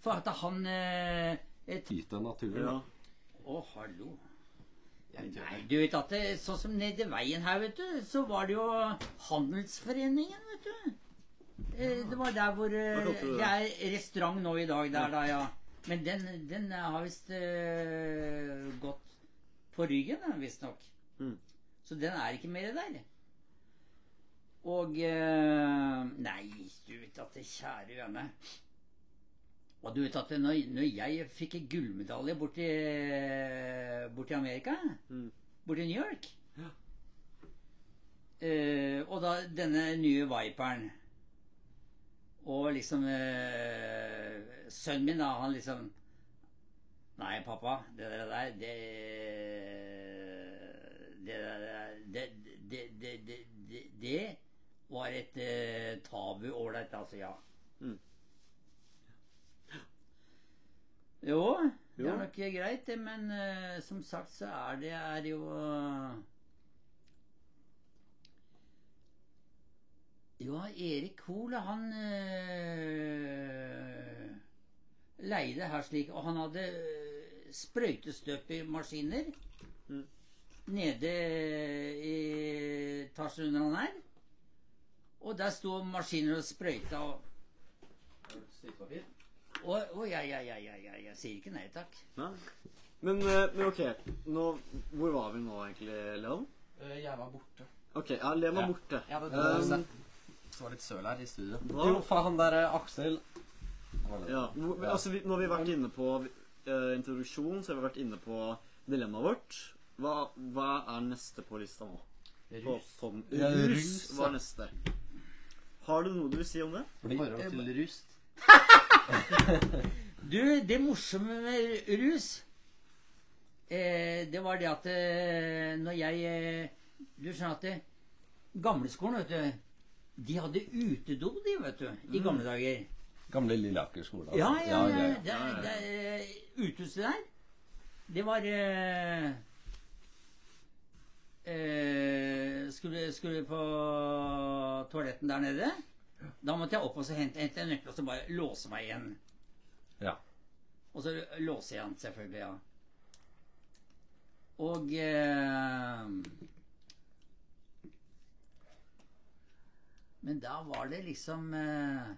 S4: For at han eh, et,
S3: Yte naturen,
S2: ja.
S3: da.
S4: Å, hallo.
S6: Jeg vet
S4: Nei,
S6: ikke.
S4: du vet at det, sånn som nede veien her, vet du, så var det jo Handelsforeningen, vet du. Eh, Det var der hvor eh,
S2: Hva kalte du det?
S4: Det er restaurant nå i dag, der da, ja. Men den, den har visst eh, gått på ryggen, da, visstnok.
S2: Mm.
S4: Så den er ikke mer der. Og eh, Nei, du vet at det, kjære vene. Og du vet at det, når, når jeg fikk en gullmedalje borti, borti Amerika,
S2: Mm.
S4: borti New York eh, Og da denne nye Viperen Og liksom eh, Sønnen min, da, han liksom Nei, pappa, det der der, det Det der Det, det, det, det, det, det var et eh, tabu ålreit, altså, ja.
S2: Mm.
S4: Jo, det
S2: Jo.
S4: er nok greit, det, men eh, som sagt så er det er jo eh, Jo, Erik Hoel, han eh, leide her slik, og han hadde eh, sprøytestøpermaskiner
S2: Mm.
S4: nede i etasjen under han her. Og der sto maskiner og sprøyta og Å, å, ja, ja, ja, ja, ja, jeg sier ikke nei takk.
S2: Nei. Men, eh, men ok, nå, hvor var vi nå egentlig, Leon?
S6: Eh, Jeg var borte.
S2: Ok, ja, Leon var
S6: Ja.
S2: borte.
S6: Ja, det
S2: Um,
S6: var det var litt søl her i studio.
S2: Da,
S3: Jo, faen, han der eh, Aksel
S2: ja, hvor- altså, vi, når vi har vært inne på eh, introduksjon, så har vi vært inne på dilemmaet vårt. Hva, hva er neste på lista nå? På,
S6: Rus.
S2: på,
S3: Ja,
S2: rus
S3: rus, ja.
S2: var neste. Har du noe du vil si om det?
S6: Forhold til rust.
S4: Du, det morsomme med rus, eh, det var det at eh, når jeg eh, Du skjønner at det, gamleskolen, vet du De hadde utedo, de, vet du, i gamle dager.
S3: Gamle Lilleaker skole. altså.
S4: Ja, ja, ja.
S3: ja,
S4: Det,
S2: Ja, ja, ja.
S4: det, eh, Utehuset der, det var eh, eh, skulle, skulle på toaletten der nede. Da måtte jeg opp og så hente, hente en nøkkel og så bare låse meg igjen.
S3: ja.
S4: Og så låser jeg den, selvfølgelig. ja. Og eh, Men da var det liksom eh,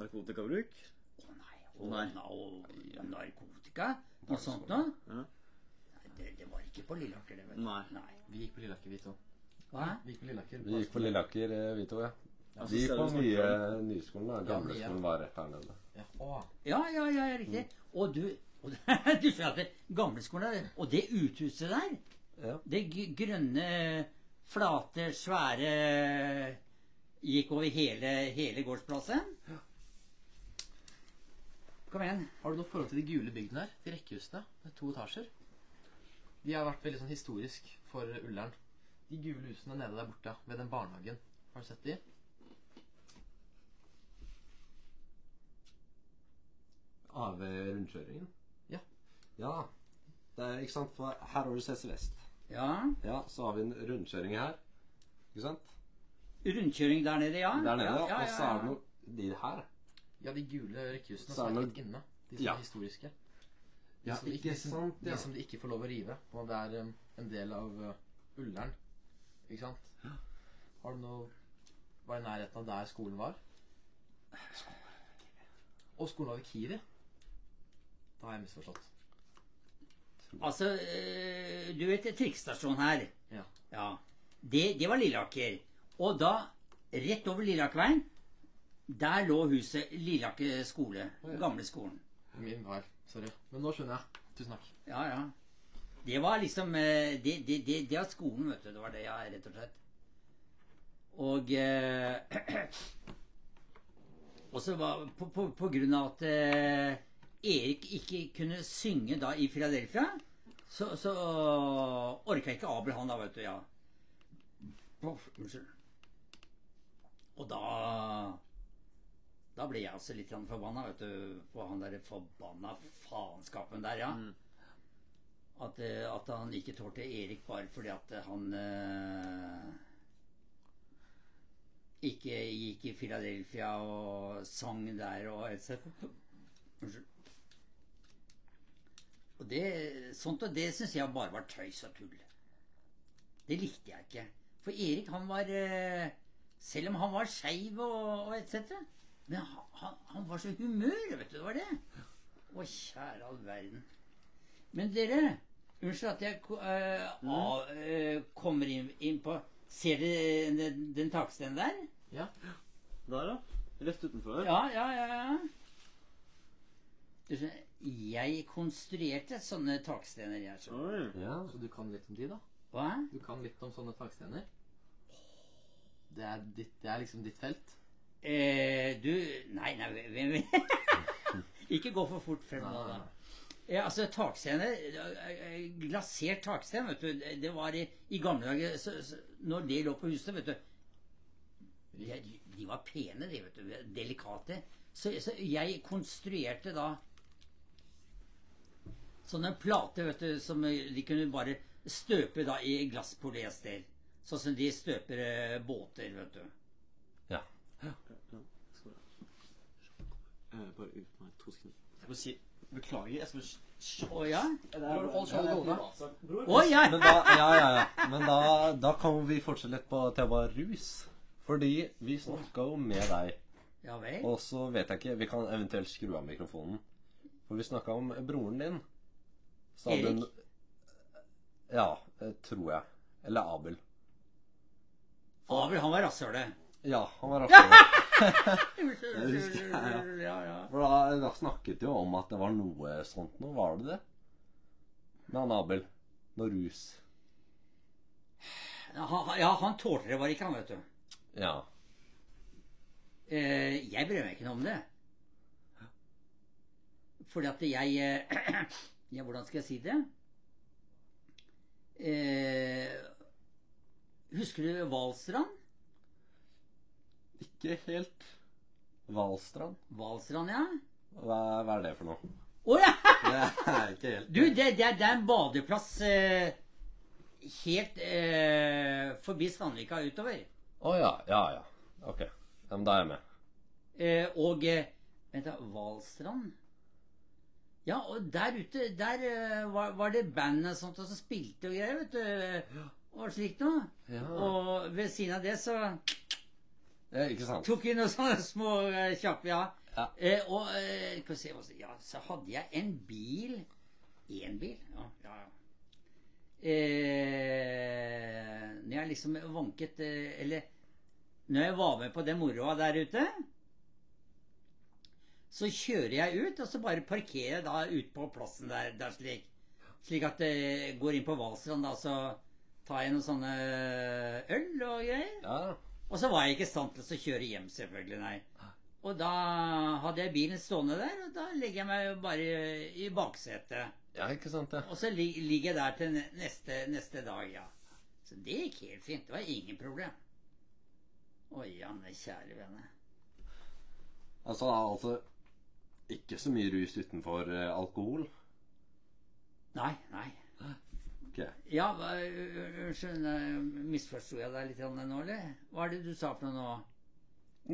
S2: Narkotikabruk?
S4: Å nei,
S2: Å
S4: å
S2: nei.
S4: na- å, narkotika? Noe sånt noe?
S2: Ja.
S4: Nei, Det, det var ikke på Lilleaker, det, vet du.
S2: Nei.
S6: Vi gikk på Lilleaker, vi to.
S4: Hva?
S6: Vi gikk på Lilleaker.
S3: Vi gikk på Lilleaker, eh, vi to, ja.
S2: Ja, så
S3: Vi gikk
S2: ser
S3: på
S2: du
S3: nye,
S2: snakker
S3: nyskolen. da. Gamleskolen var rett her nede.
S6: Ja. Å,
S4: Ja, ja, ja, ja, riktig. Og du og Du sa at det- gamleskolen er Og det uthuset der,
S3: Ja.
S4: det gr- grønne, flate, svære Gikk over hele, hele gårdsplassen. Kom igjen.
S6: Har du noe forhold til de gule bygdene her? De rekkehusene? Det er to etasjer. De har vært veldig sånn historisk for Ullern. De gule husene nede der borte, ved den barnehagen. Har du sett de?
S3: Av eh, rundkjøringen?
S6: Ja.
S3: Ja. Det er, ikke sant, for her har du CC Vest.
S4: Ja.
S3: Ja, så har vi en rundkjøring her. Ikke sant?
S4: Rundkjøring der nede, ja.
S3: Der nede.
S4: Ja, ja,
S3: Og så
S4: ja,
S3: er
S4: ja.
S3: det noe De her.
S6: Ja, de gule rekkehusene
S3: Så
S6: som
S3: er
S6: er
S3: det-
S6: litt inne. De som
S3: Ja.
S6: er historiske. De
S3: Ja,
S6: som de
S3: ikke
S6: de som-
S3: sant, ja.
S6: De som de ikke får lov å rive. Og det er um, en del av uh, Ullern. Ikke sant? Har du noe Var i nærheten av der skolen var? Og skolen hadde Kiwi. Da har jeg misforstått.
S4: Altså, eh, du vet trikkstasjonen her.
S6: Ja.
S4: Ja. Det, det var Lilleaker. Og da, rett over Lilleakerveien, der lå huset Lilleaker skole. Gamle skolen.
S6: Min feil. Sorry. Men nå skjønner jeg. Tusen takk.
S4: Ja, ja. Det var liksom eh, Det, det, det, det var skolen, vet du. Det var det, ja, rett og slett. Og eh, Og så var på, på, på grunn av at eh, Erik ikke kunne synge da i Philadelphia, så, så orka ikke Abel han da, vet du. Ja. Uff, Unnskyld. Og da Da ble jeg også litt grann forbanna, vet du. På han derre forbanna faenskapen der, ja. At, eh, at han ikke tålte Erik bare fordi at eh, han eh, ikke gikk i Philadelphia og sang der og etc. Unnskyld. Og det, sånt og det syns jeg bare var tøys og tull. Det likte jeg ikke. For Erik, han var eh, Selv om han var skeiv og, og etc. Men han, han, han var så i humør, vet du. Det var det. Å, kjære all verden. Men dere, unnskyld at jeg ko- eh, av, eh, kommer inn, inn på Ser dere den, den takstenen der?
S6: Ja.
S2: Der, ja. Rett utenfor.
S4: Ja, ja, ja. ja. Du skjønner, jeg konstruerte sånne takstener. Jeg, så.
S2: Oi.
S3: Ja.
S6: Så du kan litt om de, da?
S4: Hva?
S6: Du kan litt om sånne takstener? Det er, ditt, det er liksom ditt felt?
S4: Eh, du Nei, nei, hvem Ikke gå for fort frem nå, da. Ja, altså takstene, eh, eh, Glasert taksten, vet du. Det var i, i gamle dager så, så, Når det lå på huset, vet du De, de var pene, de, vet du. Delikate. Så, så jeg konstruerte da sånne plater, vet du, som de kunne bare støpe da i glasspolyester. Sånn som de støper eh, båter, vet du.
S3: ja.
S2: Eh, Bare ut meg to sekunder. Jeg må si Beklager, jeg skal sj- sj-
S4: Å ja?
S2: Det er-
S6: hold skjoldet
S2: det er
S6: over.
S2: privatsak, bror.
S4: Å ja!
S3: Men da, ja, ja, ja. Men da, da kan vi fortsette litt på temaet rus. Fordi vi snakka jo med deg,
S4: Ja vel.
S3: og så vet jeg ikke Vi kan eventuelt skru av mikrofonen. For vi snakka om broren din. Så hadde
S4: Erik?
S3: hun- Ja, eh, tror jeg. Eller Abel.
S4: Abel, han var rasshølet.
S3: Ja, han var raskere.
S4: Jeg
S3: husker, ja.
S4: ja, ja.
S3: For da, da snakket jo om at det var noe sånt nå. Var det det? Med han Abel. Noe rus.
S4: Han, ja, han tålte det bare ikke, han, vet du.
S3: Ja.
S4: Eh, jeg bryr meg ikke noe om det. Fordi at jeg eh, Ja, hvordan skal jeg si det? Eh, husker du Hvalstrand?
S3: Ikke helt Valstrand.
S4: Hvalstrand, ja.
S3: Hva, hva er det for noe?
S4: Å ja!
S3: Det er ikke helt
S4: Du, det, det, er- det er en badeplass eh, helt eh, forbi Sandvika utover.
S3: Å ja. Ja ja. Ok. Ja, men da er jeg med.
S4: Eh, og eh, Vent, da. Hvalstrand? Ja, og der ute der eh, var, var det band og sånt og som spilte og greier, vet du. Og slikt noe.
S3: Ja.
S4: Og ved siden av det så
S3: ja ikke sant?
S4: tok vi noen sånne små eh, kjappe, ja.
S3: Ja.
S4: Eh, og eh, skal vi se, hva- ja, så hadde jeg en bil Én bil? Ja, ja. ja. Eh, når jeg liksom vanket eh, Eller når jeg var med på den moroa der ute, så kjører jeg ut, og så bare parkerer jeg da ut på plassen der, der slik. Slik at jeg går inn på Hvalstrand, da, så tar jeg noen sånne øl og greier.
S3: Ja.
S4: Og så var jeg ikke i stand til å kjøre hjem, selvfølgelig, nei. Og da hadde jeg bilen stående der, og da legger jeg meg jo bare i baksetet.
S3: ja, ikke sant, ja.
S4: Og så lig- ligger jeg der til ne- neste, neste dag, ja. Så det gikk helt fint. Det var ingen problem. Oi, Anne, kjære vene.
S3: Altså, altså Ikke så mye rus utenfor eh, alkohol.
S4: Nei, nei.
S3: Ok.
S4: Ja, hva- unnskyld, misforsto jeg deg litt grann nå, eller? Hva er det du sa for noe nå?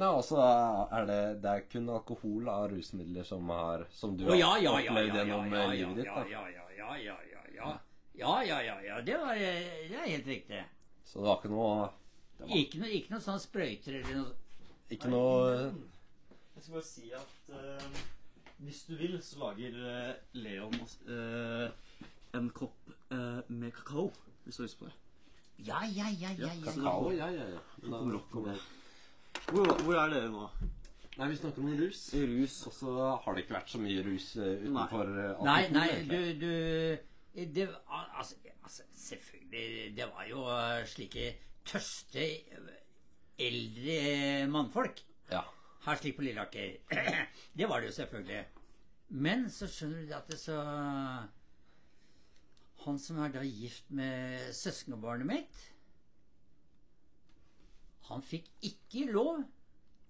S3: Nei, altså er det, det er kun alkohol av rusmidler som har Som du
S4: Å ja, ja,
S3: har
S4: ja,
S3: opplevd
S4: ja, ja,
S3: gjennom
S4: ja,
S3: eh,
S4: ja,
S3: livet ditt.
S4: ja,
S3: da.
S4: ja, ja, ja, ja, ja, ja. Ja, ja, ja, ja, det var eh, det er helt riktig.
S3: Så det var ikke noe det var
S4: Ikke noe, ikke noe sånn sprøyter eller noe
S3: Ikke noe eh,
S2: Jeg skal bare si at eh, hvis du vil, så lager eh, Leon eh, en kopp eh, med kakao. Hvis du har lyst på det.
S4: Ja, ja, ja, ja. ja, ja.
S3: kakao. Ja, ja, ja. Da
S2: Kommer opp,
S3: kommer
S2: kommer
S3: det.
S2: Hvor, hvor er dere nå?
S3: Nei, vi snakker om rus.
S2: I rus.
S3: Og så har det ikke vært så mye rus eh, utenfor eh, alkohol.
S4: Nei, nei,
S3: egentlig.
S4: du, du det, al- altså, altså, selvfølgelig Det var jo eh, slike tørste eh, eldre eh, mannfolk
S3: Ja.
S4: her slik på Lilleaker. Det var det jo selvfølgelig. Men så skjønner du det at det så Han som er da gift med søskenbarnet mitt Han fikk ikke lov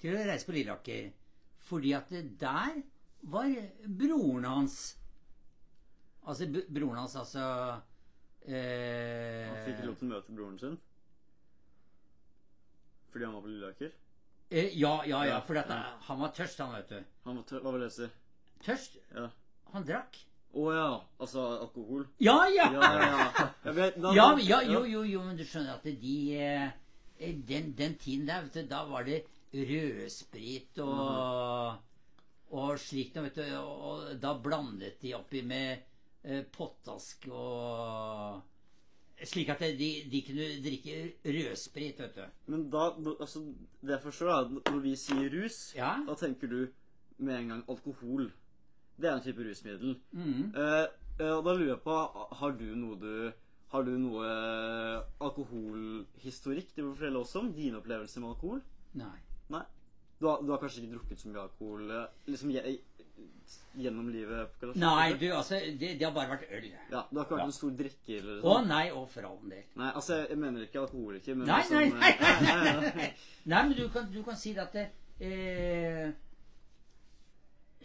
S4: til å reise på Lilleaker. Fordi at det der var broren hans Altså b- broren hans, altså eh,
S2: Han fikk ikke lov til å møte broren sin. Fordi han var på Lilleaker.
S4: eh, Ja, ja, ja.
S2: Ja,
S4: For at
S2: ja.
S4: han var tørst, han, vet du.
S2: Han var, tør- hva var det jeg sier?
S4: Tørst?
S2: Ja.
S4: Han drakk.
S2: Å ja. Altså alkohol.
S4: Ja, ja!
S2: Ja, ja, ja. Jeg vet, da-
S4: Ja, men- ja, jo, jo, jo, men du skjønner at de eh, Den, den tiden der, vet du, da var det rødsprit og Og slikt noe, vet du. Og, og da blandet de oppi med eh, pottask og Slik at de, de kunne drikke rødsprit, vet du.
S2: Men da altså, Det jeg forstår, er at når vi sier rus,
S4: Ja.
S2: da tenker du med en gang alkohol. Det er en type rusmiddel.
S4: Mhm.
S2: Eh, eh, og da lurer jeg på Har du noe du Har du noe eh, alkoholhistorikk du vil fortelle oss om? Dine opplevelser med alkohol?
S4: Nei.
S2: Nei. Du har, du har kanskje ikke drukket så mye alkohol eh, liksom je, gjennom livet? på kanskje?
S4: Nei, du, altså, det, det har bare vært øl.
S2: Ja, Du har ikke vært en stor drikker? eller
S4: Å
S2: sånn?
S4: nei, og for all del.
S2: Nei, altså, jeg, jeg mener ikke alkoholiker, men
S4: Nei,
S2: liksom,
S4: nei,
S2: eh,
S4: nei, nei,
S2: nei,
S4: nei,
S2: nei.
S4: nei. nei men du kan, du kan si det at det, eh,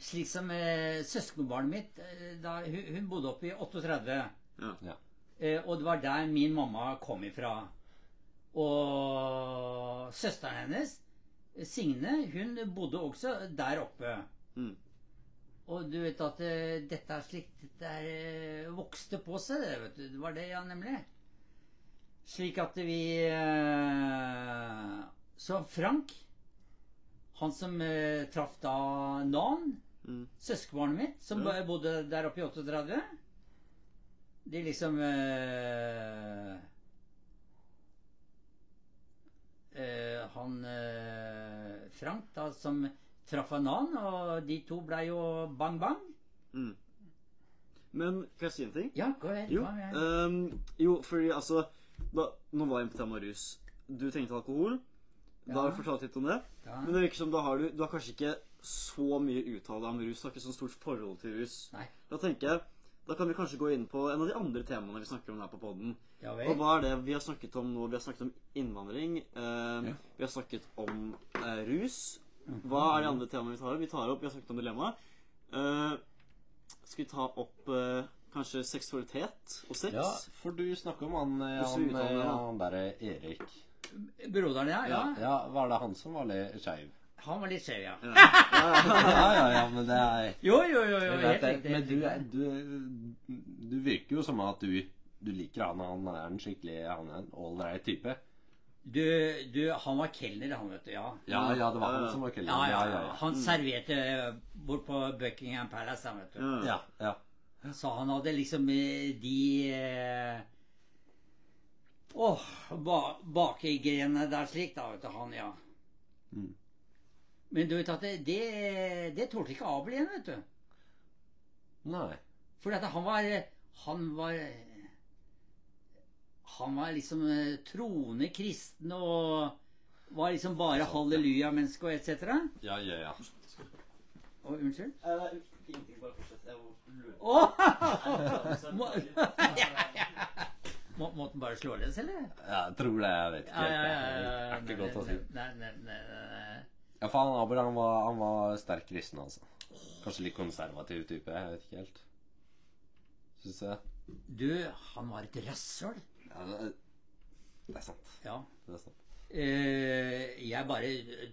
S4: Slik som eh, søskenbarnet mitt eh, da, hun, hun bodde oppe i 38.
S2: Ja.
S4: Eh, og det var der min mamma kom ifra. Og søsteren hennes, Signe, hun bodde også der oppe.
S2: Mm.
S4: Og du vet at eh, dette er slik Dette er, eh, vokste på seg, det, vet du. Det var det, ja, nemlig. Slik at vi eh, Så Frank, han som eh, traff da Nan,
S2: Mm.
S4: søskenbarnet mitt, som
S2: Ja.
S4: bo- bodde der oppe i 38 De liksom eh, eh, han eh, Frank, da, som traff en annen, og de to blei jo bang-bang.
S2: Men kan jeg si en ting?
S4: Ja, gå ahead.
S2: Jo,
S4: hva er-
S2: ehm, jo fordi altså da, Nå var jeg på tema rus. Du tenkte alkohol. Da
S4: Ja.
S2: har vi fortalt litt om det.
S4: Ja.
S2: Men det virker som da har du, du har kanskje ikke så mye uttale om rus. Du har ikke så stort forhold til rus.
S4: Nei.
S2: Da tenker jeg, da kan vi kanskje gå inn på en av de andre temaene vi snakker om her på podden.
S4: Ja
S2: Og
S4: vel.
S2: hva er det vi har snakket om nå? Vi har snakket om innvandring. eh, Vi har snakket om eh, rus. Hva er de andre temaene vi tar opp? Vi tar opp, vi har snakket om dilemma. Eh, skal vi ta opp eh, kanskje seksualitet og sex?
S3: Ja, for du snakker om han, eh,
S2: Hvis vi
S3: han,
S2: uttaler det,
S3: eh,
S2: da.
S3: han derre Erik.
S4: Broderen, ja. ja.
S3: Ja, var det han som var litt skeiv?
S4: Han var litt skjev, ja.
S3: Ja, ja, ja, men det er
S4: Jo, jo, jo. jo
S3: Jeg
S4: helt
S3: vet det,
S4: riktig.
S3: men
S4: helt
S3: du,
S4: riktig.
S3: er- du, du virker jo som at du, du liker han. Han er en skikkelig Han er en ålreit type.
S4: Du, du, han var kelner, han, vet du. Ja.
S3: Ja, ja, det var han som var
S4: Ja,
S3: kelner.
S4: ja,
S3: ja,
S4: Han serverte eh, bort på Buckingham Palace, han, vet du.
S2: Ja.
S3: ja, ja.
S4: Så han hadde liksom eh, de eh, Åh, ba, bakegrenene der slik, da, vet du. Han, ja.
S3: Mm.
S4: Men du vet at det, det, det tålte ikke Abel igjen, vet du.
S3: Nei.
S4: Fordi at han var Han var Han var liksom eh, troende kristen og var liksom bare halleluja-menneske og etc.
S3: Ja, ja, ja.
S4: Å, unnskyld?
S2: Eh, ingenting, bare fortsett. Jeg må lure.
S4: Åh! Må,
S2: Nei,
S4: ja, ja. Må, måtte den bare slå løs, eller?
S3: Jeg tror det. Jeg vet ikke helt. Det er
S4: Nei,
S3: ikke godt å si.
S4: Nei, nei, nei, nei.
S3: Ja, faen, Abel han var, han var sterk kristen, altså. Kanskje litt konservativ type. Jeg vet ikke helt. Syns jeg.
S4: Du, han var et rasshøl.
S3: Ja, det det er sant.
S4: Ja.
S3: Det er sant.
S4: Eh, jeg bare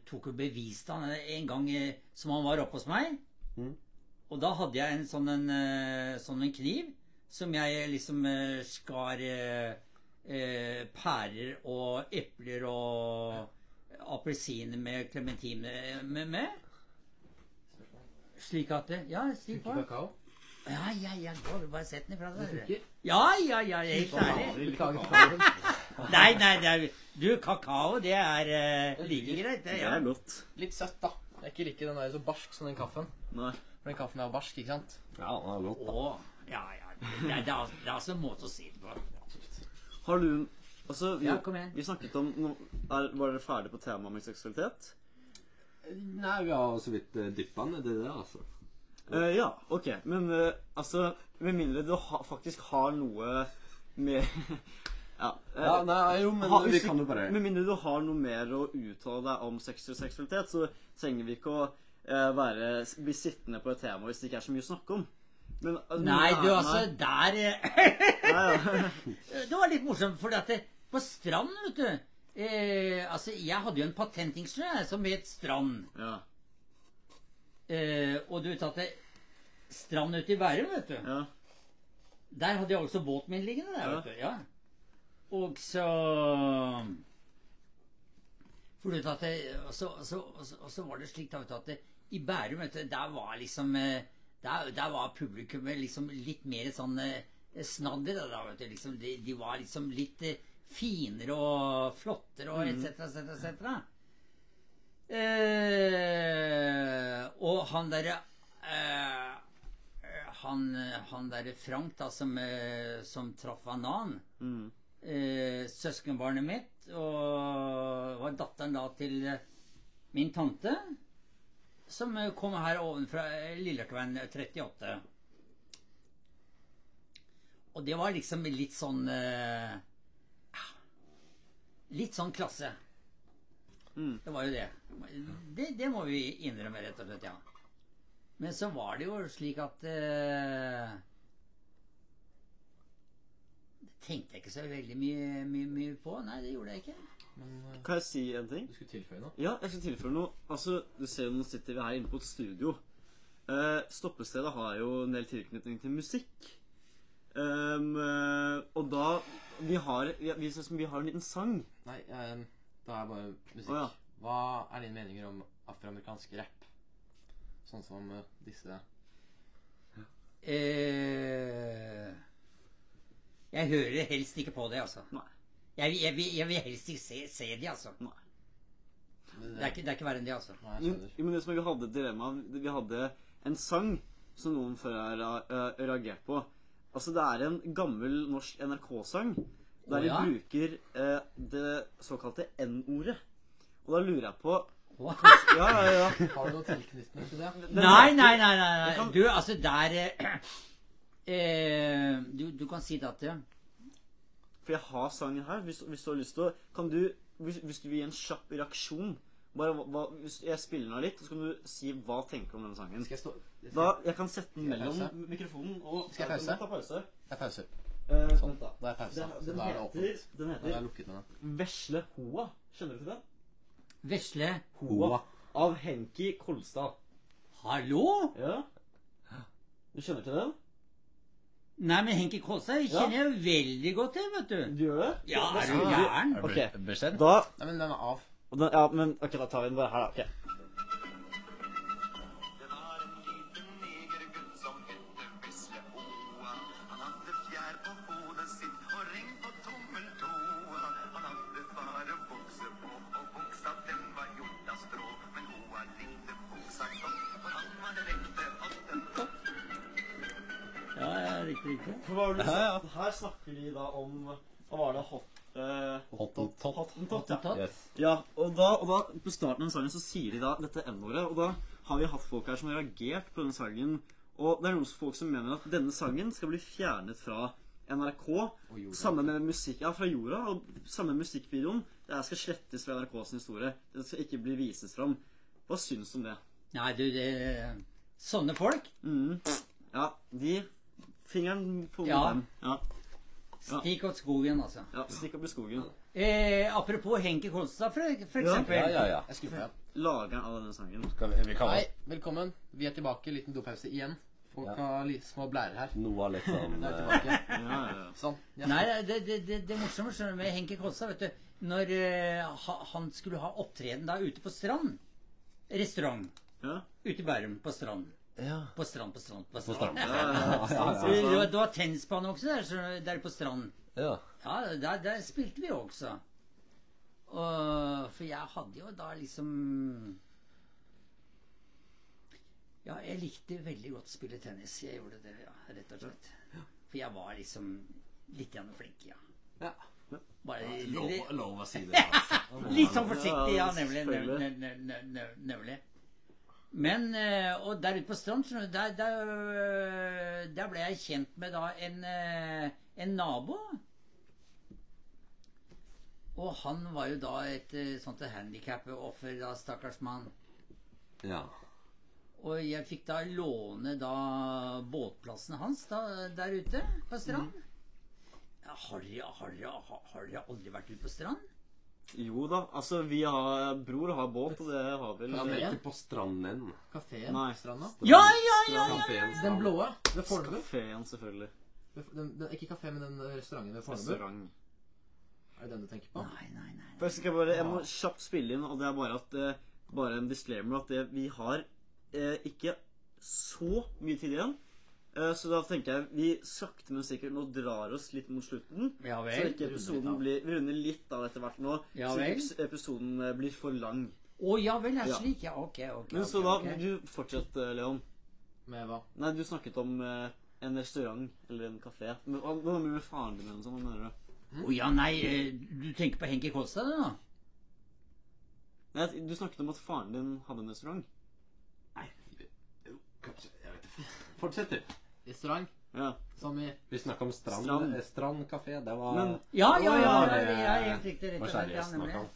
S4: tok og beviste han en gang eh, som han var oppe hos meg.
S3: Mhm.
S4: Og da hadde jeg en sånn en, eh, sånn en kniv som jeg liksom eh, skar eh, eh, pærer og epler og appelsiner med klementin eh, med, med. Slik at det Ja, slik var det.
S6: Kakao?
S4: Ja, ja, ja. Gå, du bare sett den ifra deg.
S6: Funker.
S4: dere. Ja, ja, ja. Helt ærlig.
S6: Beklager kakaoen.
S4: Nei, nei, det er, du, kakao, det er eh, like greit, det.
S2: Det
S4: Ja.
S2: er godt.
S6: Litt søtt, da. Jeg er ikke like den der så barsk som den kaffen.
S2: Nei.
S6: For den kaffen er jo barsk, ikke sant?
S3: Ja, han var godt.
S4: Å, ja, ja. Det er, det, er, det er altså en måte å si det på.
S2: Har du Altså, vi,
S4: Ja, kom igjen.
S2: vi snakket om nå, er, Var dere ferdig på temaet med seksualitet?
S3: Nei, vi har så vidt eh, dyppa nedi det, altså.
S2: Eh, ja, ok. Men eh, altså Med mindre du ha, faktisk har noe mer Ja. eh,
S3: Ja, nei, jo, men
S2: ha-
S3: vi
S2: hvis du-
S3: kan jo bare
S2: Med mindre du har noe mer å uttale deg om sex og seksualitet, så trenger vi ikke å eh, være, bli sittende på et tema hvis det ikke er så mye å snakke om. Men, eh,
S4: Nei,
S2: det er-
S4: du, altså,
S2: nei,
S4: der eh,
S2: nei, ja.
S4: Det var litt morsomt, for at det, på Strand, vet du eh, Altså, jeg hadde jo en patentingsnø jeg, som het Strand.
S2: Ja,
S4: Eh, og du vet at det, Strand ute i Bærum, vet du.
S2: ja.
S4: Der hadde jeg også båten min liggende. der,
S2: Ja.
S4: vet du. Ja. Og så For du vet at det, og så, og så, og så, og så var det slik da, vet du, at det, i Bærum, vet du, der var liksom eh, Der, der var publikummet liksom litt mer sånn eh, snadder. Da, vet du, liksom, de, de var liksom litt eh, finere og flottere og etc., etc., etc. Eh, og han derre eh, han, eh, han derre Frank, da, som, eh, som traff Anan
S2: Mm.
S4: eh, Søskenbarnet mitt, og var datteren da til eh, min tante, som eh, kom her ovenfra eh, Lillekveien 38. Og det var liksom litt sånn eh, ja, Litt sånn klasse.
S2: Mm.
S4: Det var jo det. det. Det må vi innrømme, rett og slett, ja. Men så var det jo slik at eh, tenkte jeg ikke så veldig mye, mye, mye på. Nei, det gjorde jeg ikke.
S6: Men eh,
S2: Kan jeg si en ting?
S6: du skulle tilføye noe?
S2: Ja, jeg skal tilføye noe. Altså, du ser jo nå sitter vi her inne på et studio. Eh, stoppestedet har jo en del tilknytning til musikk. Ehm, eh, og da Vi har, vi, vi, ser ut som vi har en liten sang.
S6: Nei, eh, da er bare musikk.
S2: Å, ja.
S6: Hva er dine meninger om afroamerikansk rapp? Sånn som eh, disse
S4: Eh, jeg hører helst ikke på det, altså.
S2: Nei.
S4: Jeg, vil- jeg, vil- jeg vil helst ikke se, se de, altså.
S2: Nei.
S4: Det
S6: Men,
S4: er ikke, det er ikke verre enn det, altså.
S6: Nei, jeg
S2: Jo,
S6: skjønner.
S2: jo, men det som er, Vi hadde et dilemma. Vi hadde en sang som noen før har ra- eh, reagert på. Altså, Det er en gammel norsk NRK-sang der
S4: Å, ja?
S2: de bruker eh, det såkalte N-ordet. Og da lurer jeg på
S4: Hva?
S2: Ja, ja, ja.
S6: Har du noen tilknytning til det?
S2: Den-
S4: Nei, nei, nei. nei,
S2: Du
S4: nei.
S2: kan-
S4: Du, altså, der eh, eh, du, du kan si det at eh,
S2: For jeg har sangen her, hvis, hvis du har lyst til å Kan du, hvis, hvis du vil gi en kjapp reaksjon bare, hva- hva, hvis Jeg spiller den av litt, så kan du si hva tenker du om denne sangen.
S6: Skal jeg stå Skal
S2: Da,
S6: jeg,
S2: jeg kan sette den
S6: Skal jeg
S2: mellom
S6: pause?
S2: mikrofonen og
S6: Skal jeg pause?
S2: Ja, Ta pause.
S6: jeg pauser.
S2: Eh,
S6: Sånn.
S2: Vent, da.
S6: Da er jeg pausa.
S2: Den,
S6: Så
S2: den,
S6: da er det
S2: heter,
S6: åpent.
S2: den
S6: Da er jeg
S2: heter
S6: lukket med den.
S2: Vesle Hoa. Kjenner du til den?
S4: Vesle
S2: Hoa. Av Henki Kolstad.
S4: Hallo?
S2: Ja. Du kjenner til den?
S4: Nei, men Henki Kolstad
S2: Ja.
S4: kjenner jeg veldig godt til, vet du.
S2: Du gjør det?
S4: Ja,
S2: Hva
S4: er
S2: sier
S4: du gæren?
S2: Ok.
S3: Beskjed?
S2: Da
S6: Nei, men den er av.
S2: og den, Ja, men ok, da tar vi den bare her, da. ok.
S7: Det var en liten negergutt som het Vesleoa. Han hadde fjær på hodet sitt og ring på tommeltoa. Han hadde bare bukse på, og buksa den var gjort av strå. Men hoa likte buksa godt, for han var den ekte hatten.
S4: Ja, ja, riktig, riktig.
S2: For hva var det du
S3: Ja, ja.
S2: sa? Her snakker de da om Hva var det? Hot... Eh,
S3: Hottentott.
S2: Hottentott, ja.
S4: Hottentott.
S3: Yes.
S2: Ja, og da, og da på starten av den sangen så sier de da dette N-ordet, og da har vi hatt folk her som har reagert på denne sangen, og det er noen folk som mener at denne sangen skal bli fjernet fra NRK,
S6: jorda.
S2: samme med musikk, ja, fra jorda, og samme musikkvideoen, det her skal slettes fra NRKs historie, det skal ikke bli vises fram. Hva synes du om det?
S4: Nei, du, det Sånne folk?
S2: Mhm. Ja, de, fingeren på
S4: Ja.
S2: dem. Ja.
S4: Stikk opp skogen, altså.
S2: ja, stikk opp i skogen.
S4: Eh, apropos Henki Kolstad, for, for
S2: Ja.
S4: eksempel.
S3: Ja, ja, ja.
S6: Jeg skrur på den.
S2: Lageren av denne sangen.
S3: Skal vi, vi kalle
S6: Hei,
S3: oss
S6: velkommen. Vi er tilbake. Liten dopause igjen. Folk
S3: Ja.
S6: har li- små blærer her.
S3: noe av litt sånn
S6: Da er
S3: eh,
S6: vi tilbake.
S2: Ja, ja, ja.
S6: Sånn. Ja.
S4: Nei, det, det, det, det morsomme skjønner du, med Henki Kolstad, vet du Når eh, ha- han skulle ha opptreden da ute på strand Restaurant.
S2: Ja,
S4: Ute i Bærum, på strand.
S3: Ja.
S4: På strand, på strand, på
S3: På
S4: strand.
S3: starten.
S2: ja, ja.
S4: Det, det var, det var tennisbane også der, så, der på stranden.
S3: Ja.
S4: Ja, der, der spilte vi også. Og, for jeg hadde jo da liksom Ja, jeg likte veldig godt å spille tennis. Jeg gjorde det, ja, rett og slett. For jeg var liksom litt grann flink, ja.
S6: Ja.
S4: Bare
S3: Lov, lov å si det. altså.
S4: Litt sånn forsiktig, ja,
S2: Ja,
S4: nemlig.
S2: selvfølgelig.
S4: nemlig, nemlig, nemlig, nemlig. Men eh, Og der ute på strand, skjønner du, der, der, øh, der ble jeg kjent med da en, eh, en nabo. Og han var jo da et eh, sånt handikap-offer, da, stakkars mann.
S3: Ja.
S4: Og jeg fikk da låne da båtplassen hans da, der ute på strand. Har dere har dere- har- har dere aldri vært ute på strand?
S2: Jo da, altså vi har Bror har båt, og det har vel
S6: Ja,
S3: Men
S6: men-
S3: ikke på stranden.
S6: Kafeen
S2: Nei.
S6: Stranda.
S4: Ja, ja, ja!
S3: Kafeen
S6: Den
S3: Strand.
S6: blåe ved Fornebu.
S2: Kafeen, selvfølgelig.
S6: Ved- Den, den, ikke kafé, men den restauranten ved Fornebu.
S2: Restaurant.
S6: Er det den du tenker på?
S4: Nei, nei, nei.
S2: Først skal jeg bare Jeg må kjapt spille inn, og det er bare at eh, Bare en disclaimer at det, vi har eh, ikke så mye tid igjen. Eh, så da tenker jeg vi sakte, men sikkert nå drar oss litt mot slutten.
S4: Ja
S2: Så
S4: vel.
S2: ikke episoden
S6: runder
S2: blir Vi runder litt av etter hvert nå.
S4: Ja
S2: så
S4: vel.
S2: ikke epis- episoden eh, blir for lang.
S4: Å ja vel, det er
S2: Ja.
S4: slik, ja. Ok, ok.
S2: Men
S4: ok,
S2: så da
S4: ok.
S2: Du fortsett, eh, Leon.
S6: Med hva?
S2: Nei, du snakket om eh, en restaurant eller en kafé. Men Hva hva med faren din eller noe sånt? Hva mener du?
S4: Å ja, nei, eh, du tenker på Henki Kolstad, du nå?
S2: Nei, Du snakket om at faren din hadde en restaurant.
S3: Kanskje, jeg vet ikke. Fortsett, du.
S6: Restaurant?
S2: Ja.
S6: Som i
S3: Vi snakka om strand,
S2: Strand.
S3: strand. strandkafé. Det var
S2: Men-
S4: Ja, ja, ja.
S3: Å,
S4: ja,
S3: det-
S4: ja, helt riktig. rett og
S3: var
S4: slett, ja,
S3: seriøst
S4: nemlig.
S3: snakka om.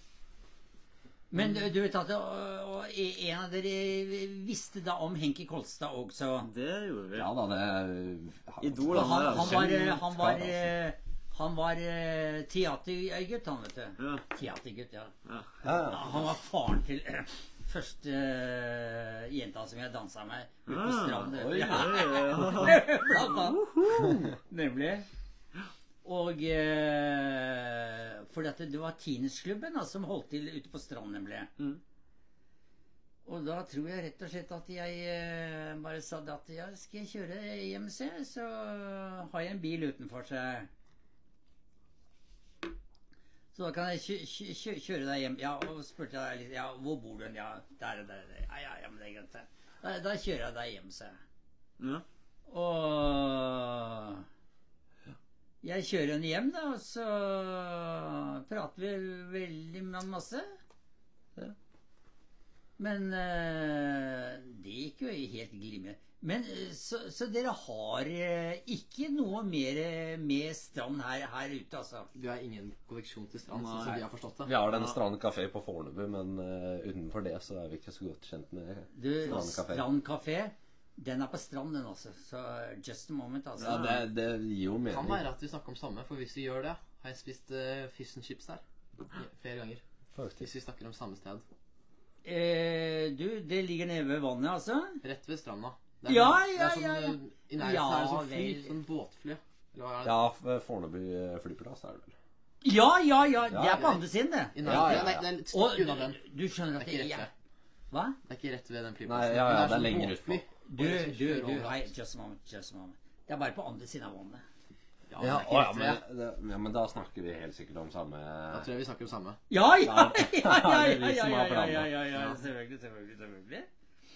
S4: Men eh, du vet at eh, og en av dere visste da om Henki Kolstad også.
S2: Det gjorde vi.
S3: Ja da, det er
S2: Idol,
S4: Han,
S2: er
S4: han var, eh,
S3: kjent
S4: han var,
S3: kar, altså.
S4: eh, han var eh, teatergutt, han, vet du.
S2: Ja,
S4: Teatergutt, ja.
S2: ja.
S3: Ja,
S4: Ja,
S3: ja.
S4: Han var faren til eh, første eh, jenta som jeg dansa med ute på
S2: Ah,
S4: stranden.
S3: oi,
S4: Ja. Blant annet. Nemlig. Og eh, For dette, det var Tinesklubben da, som holdt til ute på stranden, nemlig.
S2: Mm.
S4: Og da tror jeg rett og slett at jeg eh, bare sa det at ja, skal jeg kjøre E hjem, se, så har jeg en bil utenfor seg. Så da kan jeg kjø kjø kjø kjøre deg hjem. Ja, og spurte jeg deg litt Ja, hvor bor du? hen? Ja, der og der og der. Ja, ja, ja, men det er greit, det. Da, da kjører jeg deg hjem, sa jeg.
S2: Ja.
S4: Og jeg kjører henne hjem, da, og så prater vi veldig ma- masse.
S3: Ja.
S4: Men eh, det gikk jo helt glimrende. Men eh, så, så dere har eh, ikke noe mer eh, med strand her, her ute, altså?
S6: Du har ingen kolleksjon til strand, sånn som
S2: Nei.
S6: vi har forstått
S3: Vi
S6: det.
S3: har den Strand kafé på Fornebu, men eh, utenfor det så er vi ikke så godt kjent med
S4: Du,
S3: Strand kafé.
S4: Strand kafé, den er på strand, den, altså. Så just a moment, altså.
S3: Ja, det, det gir jo
S6: Kan
S3: mening.
S6: være at vi snakker om samme, for hvis vi gjør det, har jeg spist eh, fish and chips der. Ja, Flere ganger.
S3: Faktisk.
S6: Hvis vi snakker om samme sted.
S4: Eh, du, det ligger nede ved vannet, altså?
S6: Rett ved stranda.
S4: Ja,
S6: det
S4: ja,
S6: er sånn,
S4: ja, ja.
S6: eh, I nærheten
S4: Ja,
S6: er det sånn fly,
S4: vel.
S6: sånn båtfly. Eller hva er det?
S3: Ja, f- Fornebu eh, flyplass er det vel.
S4: Ja, ja, ja. Det er
S3: ja.
S4: på andre siden, det.
S6: I
S3: Ja,
S6: nærheten,
S3: ja, ja.
S6: Nei, det er litt
S4: Og
S6: stykk unna den.
S4: du skjønner at
S6: Det er
S4: det
S6: ikke rett
S4: er
S6: ved.
S4: Hva?
S6: Det er ikke rett ved den
S3: Nei,
S6: flyplassen.
S3: ja, ja,
S6: men
S3: det er
S6: sånn
S3: lenger
S6: båtfly.
S3: utpå.
S4: Du,
S6: Og det som
S4: du,
S6: kjører
S4: du,
S6: overalt.
S4: hei, just a moment, just a moment. Det er bare på andre siden av vannet.
S6: Ja,
S3: Ja,
S6: det
S3: å,
S6: er
S3: ja,
S6: ikke rett
S3: men,
S6: ved.
S3: det, ja, men da snakker vi helt sikkert om samme
S6: Da tror jeg vi snakker om samme.
S4: Ja, ja,
S3: Det er-
S4: ja, ja,
S3: det er
S4: ja,
S3: vi
S4: ja,
S3: som
S4: ja,
S3: har
S4: ja,
S3: planen.
S4: ja, ja, ja, selvfølgelig, selvfølgelig, selvfølgelig.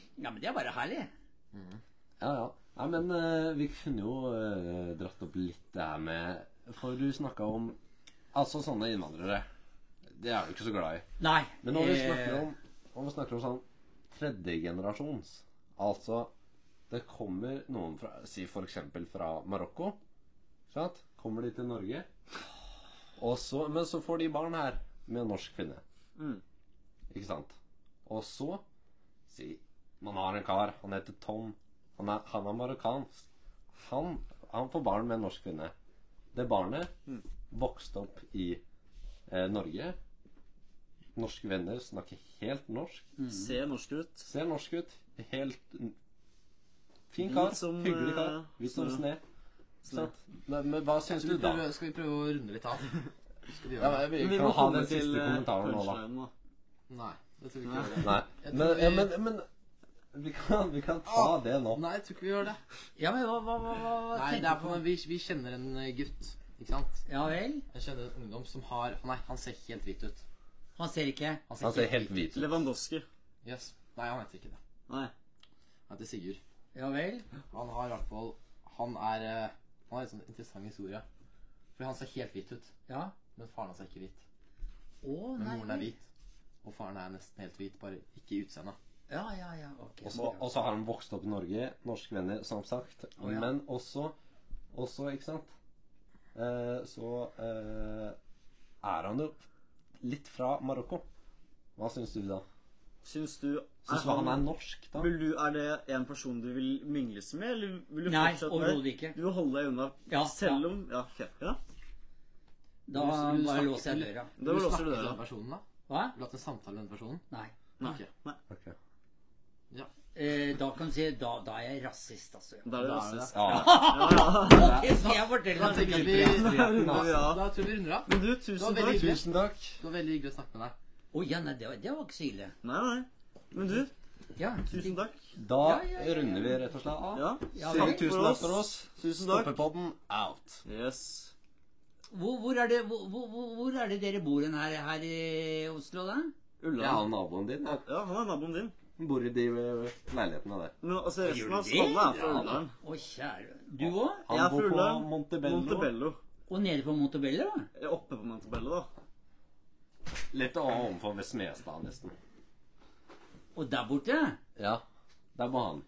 S4: Ja, men det er bare herlig.
S3: Ja, ja. Nei, men eh, vi kunne jo eh, dratt opp litt det her med For du snakka om Altså, sånne innvandrere. Det er vi ikke så glad i.
S4: Nei.
S3: Men når vi
S4: eh,
S3: snakker om, når vi snakker om sånn tredjegenerasjons Altså, det kommer noen fra Si for eksempel fra Marokko. ikke Sant? Kommer de til Norge. Og så, men så får de barn her med en norsk kvinne.
S2: Mm.
S3: Ikke sant? Og så Si man har en kar. Han heter Tom. Han er, han er marokkansk. Han, han får barn med en norsk kvinne. Det barnet vokste opp i eh, Norge. Norske venner snakker helt norsk.
S2: Ser norsk ut.
S3: Ser norsk ut. Helt n- Fin kar.
S2: Hvit som,
S3: hyggelig kar.
S2: eh,
S3: Hvit som
S2: snø.
S3: sne. Sant? Men, men hva syns
S6: Skal
S3: du
S6: vi,
S3: da?
S6: prøve, skal vi prøve å runde litt av? Skal vi
S3: Ja,
S6: gjøre det?
S3: men
S2: Men
S3: vi
S2: vi
S3: kan
S2: må
S3: ha
S2: komme
S3: den
S2: til
S3: siste
S2: eh,
S3: kommentaren nå, da.
S2: punchlinen nå.
S6: Nei, det tror vi ikke vi gjør det.
S3: Nei.
S6: Jeg
S3: Men,
S6: tror
S3: ja,
S6: vi-
S3: men, men vi, kan, vi kan ta det nå.
S6: Nei, jeg tror ikke vi gjør det.
S4: eh, Ja, men hva, hva, hva, hva, hva
S6: Nei, det er
S4: tenker
S6: på,
S4: du på?
S6: vi, vi kjenner en eh, gutt, ikke sant?
S4: Ja vel?
S6: Jeg kjenner en ungdom som har Nei, han ser ikke helt hvit ut.
S4: Han ser ikke.
S3: Han ser helt hvit ut.
S2: Lewandowski.
S6: Yes. Nei, han heter ikke det.
S2: Nei.
S6: Han heter Sigurd.
S4: Ja vel?
S6: Han har i hvert fall Han er eh, Han har en sånn interessant historie. Fordi han ser helt hvit ut,
S4: Ja.
S6: men faren hans er ikke hvit.
S4: Å,
S6: Men
S4: nei.
S6: moren er hvit, og faren er nesten helt hvit, bare ikke i utseendet.
S4: Ja, ja, ja. Ok.
S3: Og så og så har han vokst opp i Norge. Norske venner, som sagt.
S4: Å, ja.
S3: Men også, også ikke sant eh, Så eh, er han jo litt fra Marokko. Hva syns du da?
S2: Syns du
S3: Syns du han er norsk, da?
S2: Vil du, er det en person du vil mingles med, eller vil du
S4: Nei,
S2: fortsette
S4: overhodet ikke.
S2: Du vil holde deg unna,
S4: Ja,
S2: selv om Ja, ok. Ja.
S4: Da
S6: Vil du- vil du
S4: bare
S6: snakke-
S4: låser jeg
S6: vil-
S4: døra.
S2: Da
S6: Vil du
S2: låser
S6: snakke
S2: du
S6: til
S2: døra.
S6: den personen, da?
S4: Hva?
S6: Vil du ha en samtale med den personen?
S4: Nei.
S2: Nei.
S6: Ok.
S2: Nei.
S3: Ok.
S4: Eh, da kan du si da, da er jeg rasist, altså. Ja.
S2: Da er det
S6: Da er det.
S2: rasist.
S3: Ja.
S4: Det skal jeg fortelle
S6: Da
S4: deg.
S6: tenker jeg at vi,
S2: Ja.
S6: da tror jeg vi runder av.
S2: Men du, tusen
S6: Det var veldig
S2: takk.
S6: hyggelig.
S3: Tusen takk.
S6: Det var veldig hyggelig å snakke med deg.
S4: Å ja, nei, det var, det var ikke så ille.
S2: Nei, nei. Men du,
S4: Ja,
S2: tusen takk.
S3: Da
S4: Ja, ja, ja, ja.
S3: runder vi rett og slett av.
S2: Ja.
S4: Ja,
S3: Sier
S4: vel.
S3: Tusen takk for oss.
S2: Tusen takk.
S3: Stoppepodden out.
S2: Yes.
S4: Hvor, hvor, er det, hvor, hvor, hvor- hvor er det dere bor hen her, her i Oslo, da?
S2: Ulla.
S3: Jeg har naboen din. jeg.
S2: Ja, han er naboen din.
S3: Han bor i de eh, leilighetene der.
S2: Men altså, resten
S4: Gjør
S2: av
S4: du
S2: stallen er
S4: det?
S2: fra Ullern.
S4: Å, kjære Du òg?
S3: Han
S2: Jeg er
S3: bor
S2: fra
S3: på
S2: Ullern.
S3: Montebello.
S2: Montebello.
S4: Og nede på Montebello? da?
S2: Eller Oppe på Montebello, da.
S3: Litt overfor ved Smestad, nesten.
S4: Og der borte?
S3: Ja. Der var han.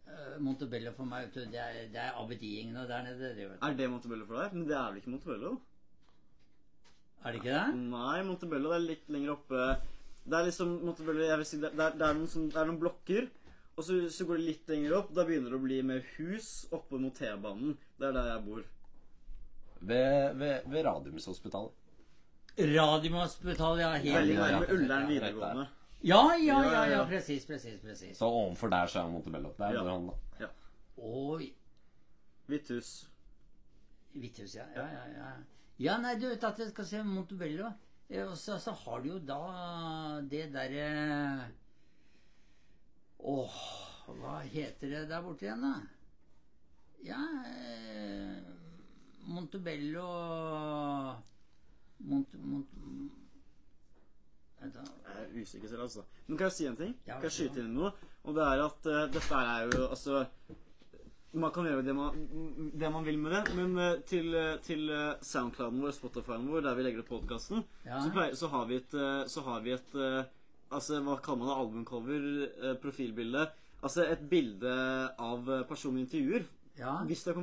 S4: Eh, Montebello for meg, vet du, det er, det er abediingene der nede. Det, vet du.
S2: Er det Montebello for deg? Men det er vel ikke Montebello?
S4: Er det ikke det?
S2: Nei, Montebello det er litt lenger oppe. Det er liksom Montebello, jeg vil si, det er, det er, noen, sånn- det er noen blokker, og så, så går det litt lenger opp. Da begynner det å bli mer hus oppe mot T-banen. Det er der jeg bor.
S3: Ved, ved, ved Radiumhospitalet.
S4: Radiumhospitalet, ja.
S2: Veldig
S4: Helt.
S3: ja,
S2: nærme
S3: ja.
S2: Ullern
S3: Ja,
S2: videregående.
S4: Ja, ja,
S2: Ja,
S4: ja,
S2: ja,
S4: ja,
S2: ja.
S4: presis, presis, presis.
S3: Så ovenfor der så er Montebello. Der
S2: Ja.
S3: bor han, da.
S4: Oi,
S2: Hvitt hus.
S4: Hvithus, ja. Ja, ja, ja. ja, nei, du vet at jeg skal se Montebello. eh, Og så, så har du jo da det derre Åh, hva heter det der borte igjen, da? Ja eh, Montebello Mont... Mont... Vent da.
S2: Jeg er usikker selv, altså. Men kan jeg si en ting?
S4: Ja,
S2: kan jeg
S4: ja.
S2: skyte inn noe? Og det er at eh, dette her er jo altså Man kan gjøre det man, det man vil med det, men eh, til, eh, til eh, Soundclouden vår, Spotify-en vår, der vi legger ut podkasten,
S4: Ja.
S2: så, pleier- så har vi et, eh, så har vi et eh, Altså, hva kaller man det? Albumcover? eh, Profilbilde? Altså et bilde av eh, personen i intervjuer.
S4: Ja.
S2: Hvis det er